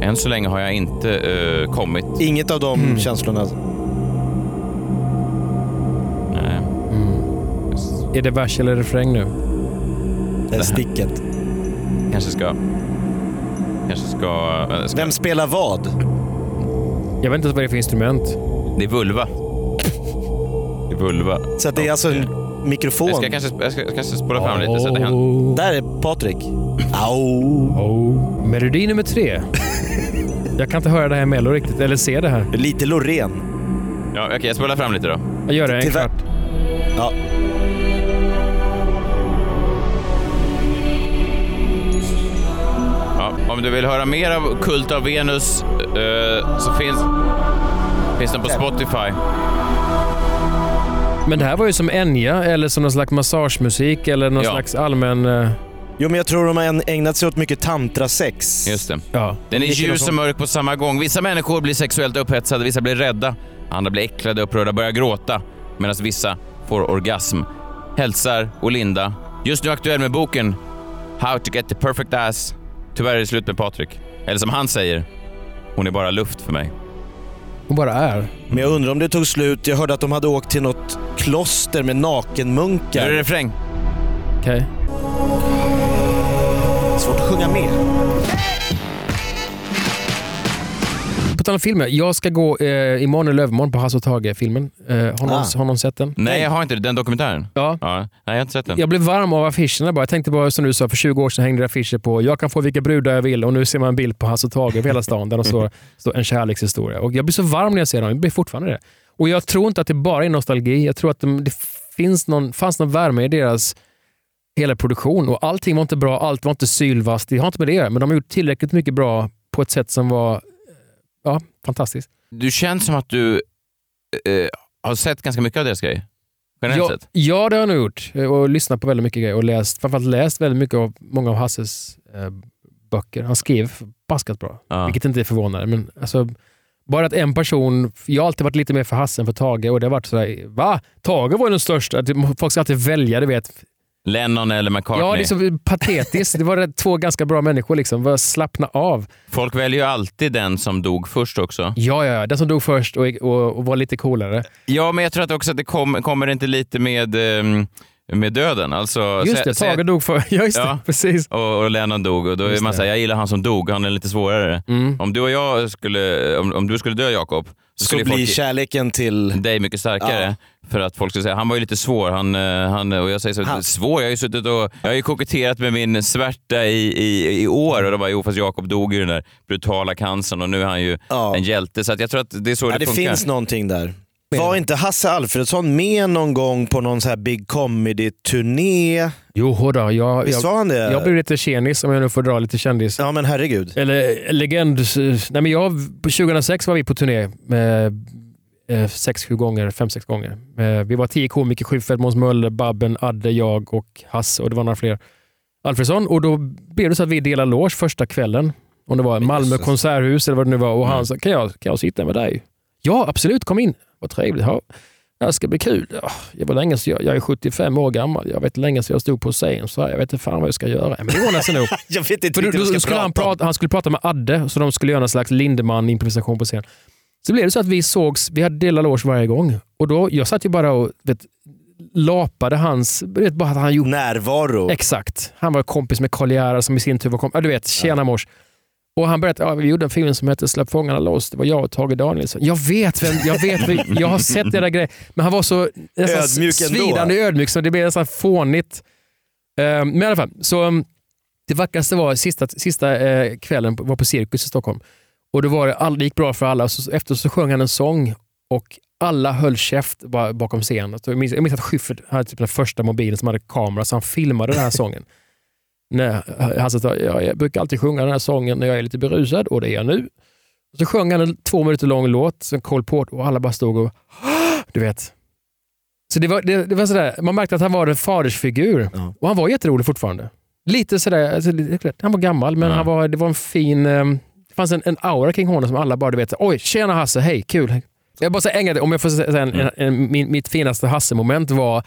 Speaker 2: Än så länge har jag inte eh, kommit...
Speaker 3: Inget av de
Speaker 2: Mm.
Speaker 3: känslorna.
Speaker 2: Nej.
Speaker 4: Är det vers eller refräng nu?
Speaker 3: Det sticket.
Speaker 2: Kanske ska... Kanske ska... eh, ska
Speaker 3: Vem spelar vad?
Speaker 4: Jag vet inte ens vad det är för instrument.
Speaker 2: Det är vulva. Det är vulva.
Speaker 3: Så att det är alltså en mikrofon?
Speaker 2: Jag ska kanske, jag ska, jag kanske spola fram lite så att det händer.
Speaker 4: Oh,
Speaker 3: Där är Patrik. Au.
Speaker 4: Melodi nummer tre. jag kan inte höra det här Mello riktigt, eller se det här.
Speaker 3: Lite Loreen.
Speaker 2: Ja, okej, jag spolar fram lite då.
Speaker 4: Jag gör det, en kvart.
Speaker 3: Ja.
Speaker 2: Ja, om du vill höra mer av Kult av Venus eh, så finns, finns den på Spotify.
Speaker 4: Men det här var ju som Enya, eller som någon slags massagemusik, eller någon
Speaker 2: Ja.
Speaker 4: slags allmän... eh,
Speaker 3: Jo, men jag tror de har en- ägnat sig åt mycket tantrasex.
Speaker 2: Just det.
Speaker 4: Ja.
Speaker 2: Den är
Speaker 3: Vilken
Speaker 2: ljus
Speaker 3: som-
Speaker 2: och mörk på samma gång. Vissa människor blir sexuellt upphetsade, vissa blir rädda, andra blir äcklade, upprörda, börjar gråta, medan vissa får orgasm. Hälsar Olinda. Just nu aktuell med boken How to get the perfect ass. Tyvärr är det slut med Patrik. Eller som han säger, hon är bara luft för mig.
Speaker 4: Hon bara är.
Speaker 3: Men jag undrar om det tog slut. Jag hörde att de hade åkt till något kloster med nakenmunkar.
Speaker 2: Nu är det refräng.
Speaker 4: Okej.
Speaker 3: Svårt att sjunga med.
Speaker 4: På tal om filmer, jag ska gå eh, imorgon eller övermorgon på Hasse och Tage-filmen. Eh, har, någon,
Speaker 2: Ah.
Speaker 4: har någon sett den?
Speaker 2: Nej, jag har inte det. Den dokumentären?
Speaker 4: Ja.
Speaker 2: Nej, jag har inte sett den.
Speaker 4: Jag blev varm av affischerna bara. Jag tänkte bara som du sa, för 20 år sedan hängde det affischer på “Jag kan få vilka brudar jag vill” och nu ser man en bild på Hasse och Tage över hela stan där de står, står “En kärlekshistoria”. Och jag blir så varm när jag ser dem. Jag blir fortfarande det. Och jag tror inte att det bara är nostalgi. Jag tror att de, det finns någon, fanns någon värme i deras hela produktion. Och allting var inte bra, allt var inte sylvast. Det har inte med det att göra, men de har gjort tillräckligt mycket bra på ett sätt som var eh, ja, fantastiskt.
Speaker 2: Du känns som att du eh, har sett ganska mycket av deras grejer. Generellt
Speaker 4: Ja,
Speaker 2: sett.
Speaker 4: ja, det har jag nog gjort. Eh, Och lyssnat på väldigt mycket grejer och läst, framförallt läst väldigt mycket av många av Hasses eh, böcker. Han skrev förbaskat bra,
Speaker 2: Ja.
Speaker 4: vilket inte är förvånande. Men alltså, bara att en person... Jag har alltid varit lite mer för Hasse än för Tage och det har varit sådär, va? Tage var ju den största. Att Folk ska alltid välja, du vet.
Speaker 2: Lennon eller McCartney.
Speaker 4: Ja, det är så patetiskt. Det var rätt- två ganska bra människor liksom. Bara slappna av.
Speaker 2: Folk väljer ju alltid den som dog först också.
Speaker 4: Ja, ja, ja. Den som dog först och, och, och var lite coolare.
Speaker 2: Ja, men jag tror att också att det kom, kommer inte lite med, ehm, med döden. Alltså,
Speaker 4: Just
Speaker 2: sä-
Speaker 4: det,
Speaker 2: sä-
Speaker 4: Tage dog för... Ja, just det. Precis.
Speaker 2: Och, och Lennon dog och då är
Speaker 4: Just
Speaker 2: man
Speaker 4: det.
Speaker 2: såhär, jag gillar han som dog, han är lite svårare. Om du och jag skulle, om, om du skulle dö Jakob,
Speaker 3: Mm. Så
Speaker 2: skulle
Speaker 3: blir
Speaker 2: kärleken till dig mycket starkare. För att folk skulle säga, han var ju lite svår. Han, eh, han, och jag säger så,
Speaker 3: Han-
Speaker 2: svår? Jag har ju suttit och, jag har ju koketterat med min svärta i, i, i år och de bara, jo fast Jakob dog ju i den där brutala cancern och nu är han ju en hjälte. Så att jag tror att det är så
Speaker 3: Ja,
Speaker 2: det
Speaker 3: det
Speaker 2: funkar.
Speaker 3: finns någonting där. Var inte Hasse Alfredsson med någon gång på någon så här big comedy-turné?
Speaker 4: Jo, då, jag,
Speaker 3: Visst var han det?
Speaker 4: Jag blev lite tjenis om jag nu får dra lite kändis.
Speaker 3: Ja, men herregud.
Speaker 4: Eller eh, legend. eh, Nej, men jag, på 2006 var vi på turné med eh, sex, sju gånger, fem, sex gånger. Eh, vi var tio komiker, Schyffert, Måns Möller, Babben, Adde, jag och Hasse och det var några fler. Alfredsson. Och då blev det så att vi delade loge första kvällen. Om det var Malmö konserthus eller vad det nu var. Och han sa, kan jag, kan jag sitta med dig? Ja, absolut, kom in. Vad trevligt. Ja. Det ska bli kul. Ja, Det var länge sedan jag, jag är 75 år gammal. Jag vet länge sedan jag stod på scen. Så här, jag vet inte fan vad jag ska göra. Men det ordnar sig nog.
Speaker 3: Jag vet inte
Speaker 4: För då,
Speaker 3: riktigt vad jag
Speaker 4: då
Speaker 3: ska
Speaker 4: skulle han,
Speaker 3: prata om.
Speaker 4: prata, han skulle prata med Adde, så de skulle göra en slags Lindemann-improvisation på scen. Så blev det så att vi sågs, vi hade delad loge varje gång. Och då, jag satt ju bara och vet, lapade hans... Vet, bara att han gjort...
Speaker 3: Närvaro.
Speaker 4: Exakt. Han var kompis med Karl Gerhard som i sin tur var kompis... Ja, du vet, tjena mors. Och han berättade, ja, vi gjorde en film som hette Släpp fångarna loss. Det var jag och Tage Danielsson. Jag vet vem, jag vet, vem- jag har sett era grejer. Men han var så nästan
Speaker 3: Ödmjuk ändå.
Speaker 4: svidande ödmjuk så det blev nästan fånigt. Eh, Men i alla fall, så um, det vackraste var sista, sista eh, kvällen på- var på Cirkus i Stockholm. Och då var det, all, det gick bra för alla. Så, efter så sjöng han en sång och alla höll käft bara bakom scenen. Så Jag minns, jag minns att Schyffert hade typ den första mobilen som hade kamera så han filmade den här sången. Nej, han sa, jag, jag brukar alltid sjunga den här sången när jag är lite berusad och det är jag nu. Så sjöng han en två minuter lång låt, som Cole Porter, och alla bara stod och du vet. Så det var, det, det var sådär, man märkte att han var en fadersfigur. Och han var jätterolig fortfarande. Lite sådär, alltså, lite- han var gammal men han var, det var en fin, eh, det fanns en, en aura kring honom som alla bara du vet, oj tjena Hasse, hej, kul. Jag bara så ägna det, om jag får säga en, en, en, min, mitt finaste Hasse-moment var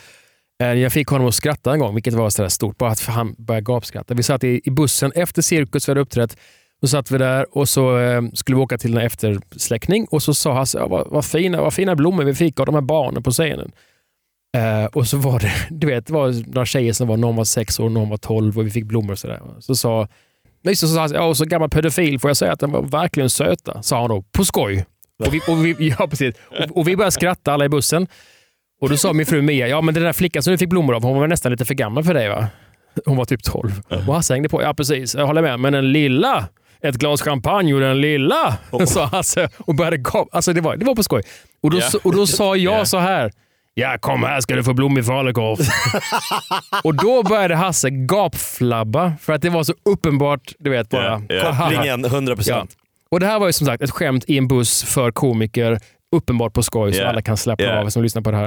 Speaker 4: Eh, Jag fick honom att skratta en gång, vilket var sådär stort. Bara att han började gapskratta. Vi satt i, i bussen efter cirkus, vi hade uppträtt. Då satt vi där och så eh, skulle vi åka till en eftersläckning och så sa Hasse, ja, vad, vad, fina, vad fina blommor vi fick av de här barnen på scenen. Eh, och så var det, du vet, det var några tjejer som var, någon var sex år, någon var tolv och vi fick blommor och sådär. Så sa, nej, så sa Hasse, ja, och så gammal pedofil, får jag säga att de var verkligen söta? Sa han då, på skoj. Och vi, och vi, ja, precis. Och, och vi började skratta alla i bussen. Och då sa min fru Mia, ja men den där flickan som du fick blommor av, hon var nästan lite för gammal för dig va? Hon var typ 12. Och Hasse hängde på, ja precis, jag håller med, men den lilla, ett glas champagne och den lilla, sa Hasse och började gapa. Alltså det var, det var på skoj. Och då,
Speaker 15: Ja.
Speaker 4: så- och då sa jag så här, ja kom här ska du få blommig falukorv. och då började Hasse gapflabba för att det var så uppenbart, du vet bara.
Speaker 3: Ja, ja. Kopplingen, 100%.
Speaker 4: Och det här var ju som sagt ett skämt i en buss för komiker, uppenbart på skoj, så
Speaker 3: Yeah.
Speaker 4: alla kan slappna
Speaker 3: Yeah.
Speaker 4: av som lyssnar på det här.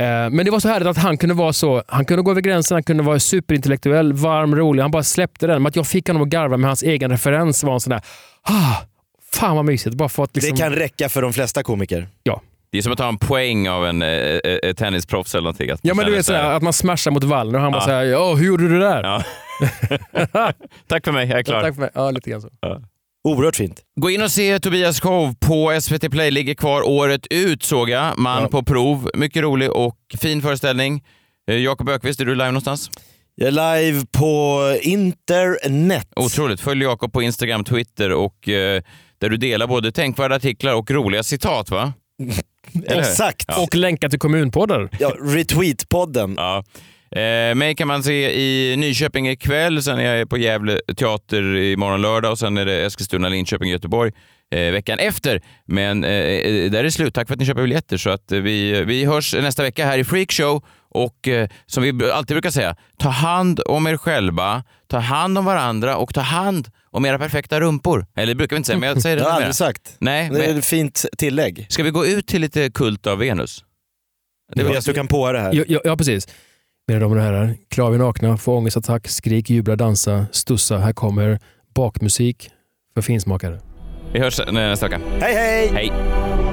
Speaker 4: Eh, Men det var så härligt att han kunde vara så, han kunde gå över gränsen, han kunde vara superintellektuell, varm, rolig. Han bara släppte den. Men att jag fick honom att garva med hans egen referens var en sån där, ah, fan vad mysigt. Bara för att liksom...
Speaker 3: Det kan räcka för de flesta komiker.
Speaker 4: Ja.
Speaker 2: Det är som att ta en poäng av en eh, eh, eh, tennisproffs eller någonting. Att
Speaker 4: Ja men du
Speaker 2: känna
Speaker 4: vet
Speaker 2: så här,
Speaker 4: sådär, att man smashar mot vallen och han bara
Speaker 2: Ja.
Speaker 4: såhär, ja hur gjorde du det där?
Speaker 2: Tack för mig, jag är klar.
Speaker 4: Ja, tack för mig. Ja, lite grann så.
Speaker 3: Oerhört fint.
Speaker 2: Gå in och se Tobias show på SVT Play. Ligger kvar året ut såg jag. Man på prov. Mycket rolig och fin föreställning. Eh, Jakob Ökvist, är du live någonstans?
Speaker 3: Jag är live på internet.
Speaker 2: Otroligt. Följ Jakob på Instagram, Twitter och eh, där du delar både tänkvärda artiklar och roliga citat va? Eller hur?
Speaker 3: Exakt.
Speaker 2: Ja.
Speaker 4: Och länkar till kommunpoddar.
Speaker 3: Ja, retweet-podden.
Speaker 2: Ja. Eh, mig kan man se i Nyköping ikväll, sen är jag på Gävle teater imorgon lördag och sen är det Eskilstuna, Linköping, Göteborg eh, veckan efter. Men eh, eh, där är det slut. Tack för att ni köper biljetter. Så att eh, vi, vi hörs nästa vecka här i Freakshow. Och eh, som vi alltid brukar säga, ta hand om er själva, ta hand om varandra och ta hand om era perfekta rumpor. Eller det brukar vi inte säga, men jag säger det
Speaker 3: Det har jag
Speaker 2: numera.
Speaker 3: aldrig sagt.
Speaker 2: Nej,
Speaker 3: Det är
Speaker 2: men-
Speaker 3: ett fint tillägg.
Speaker 2: Ska vi gå ut till lite Kult av Venus?
Speaker 3: Det var du kan på det här.
Speaker 4: Ja, ja, ja precis. Mina damer och herrar, klarar vi nakna, får ångestattack, skrik, jubla, dansa, stussa. Här kommer bakmusik för finsmakare.
Speaker 2: Vi hörs eh, nästa vecka.
Speaker 3: Hej hej!
Speaker 2: Hej!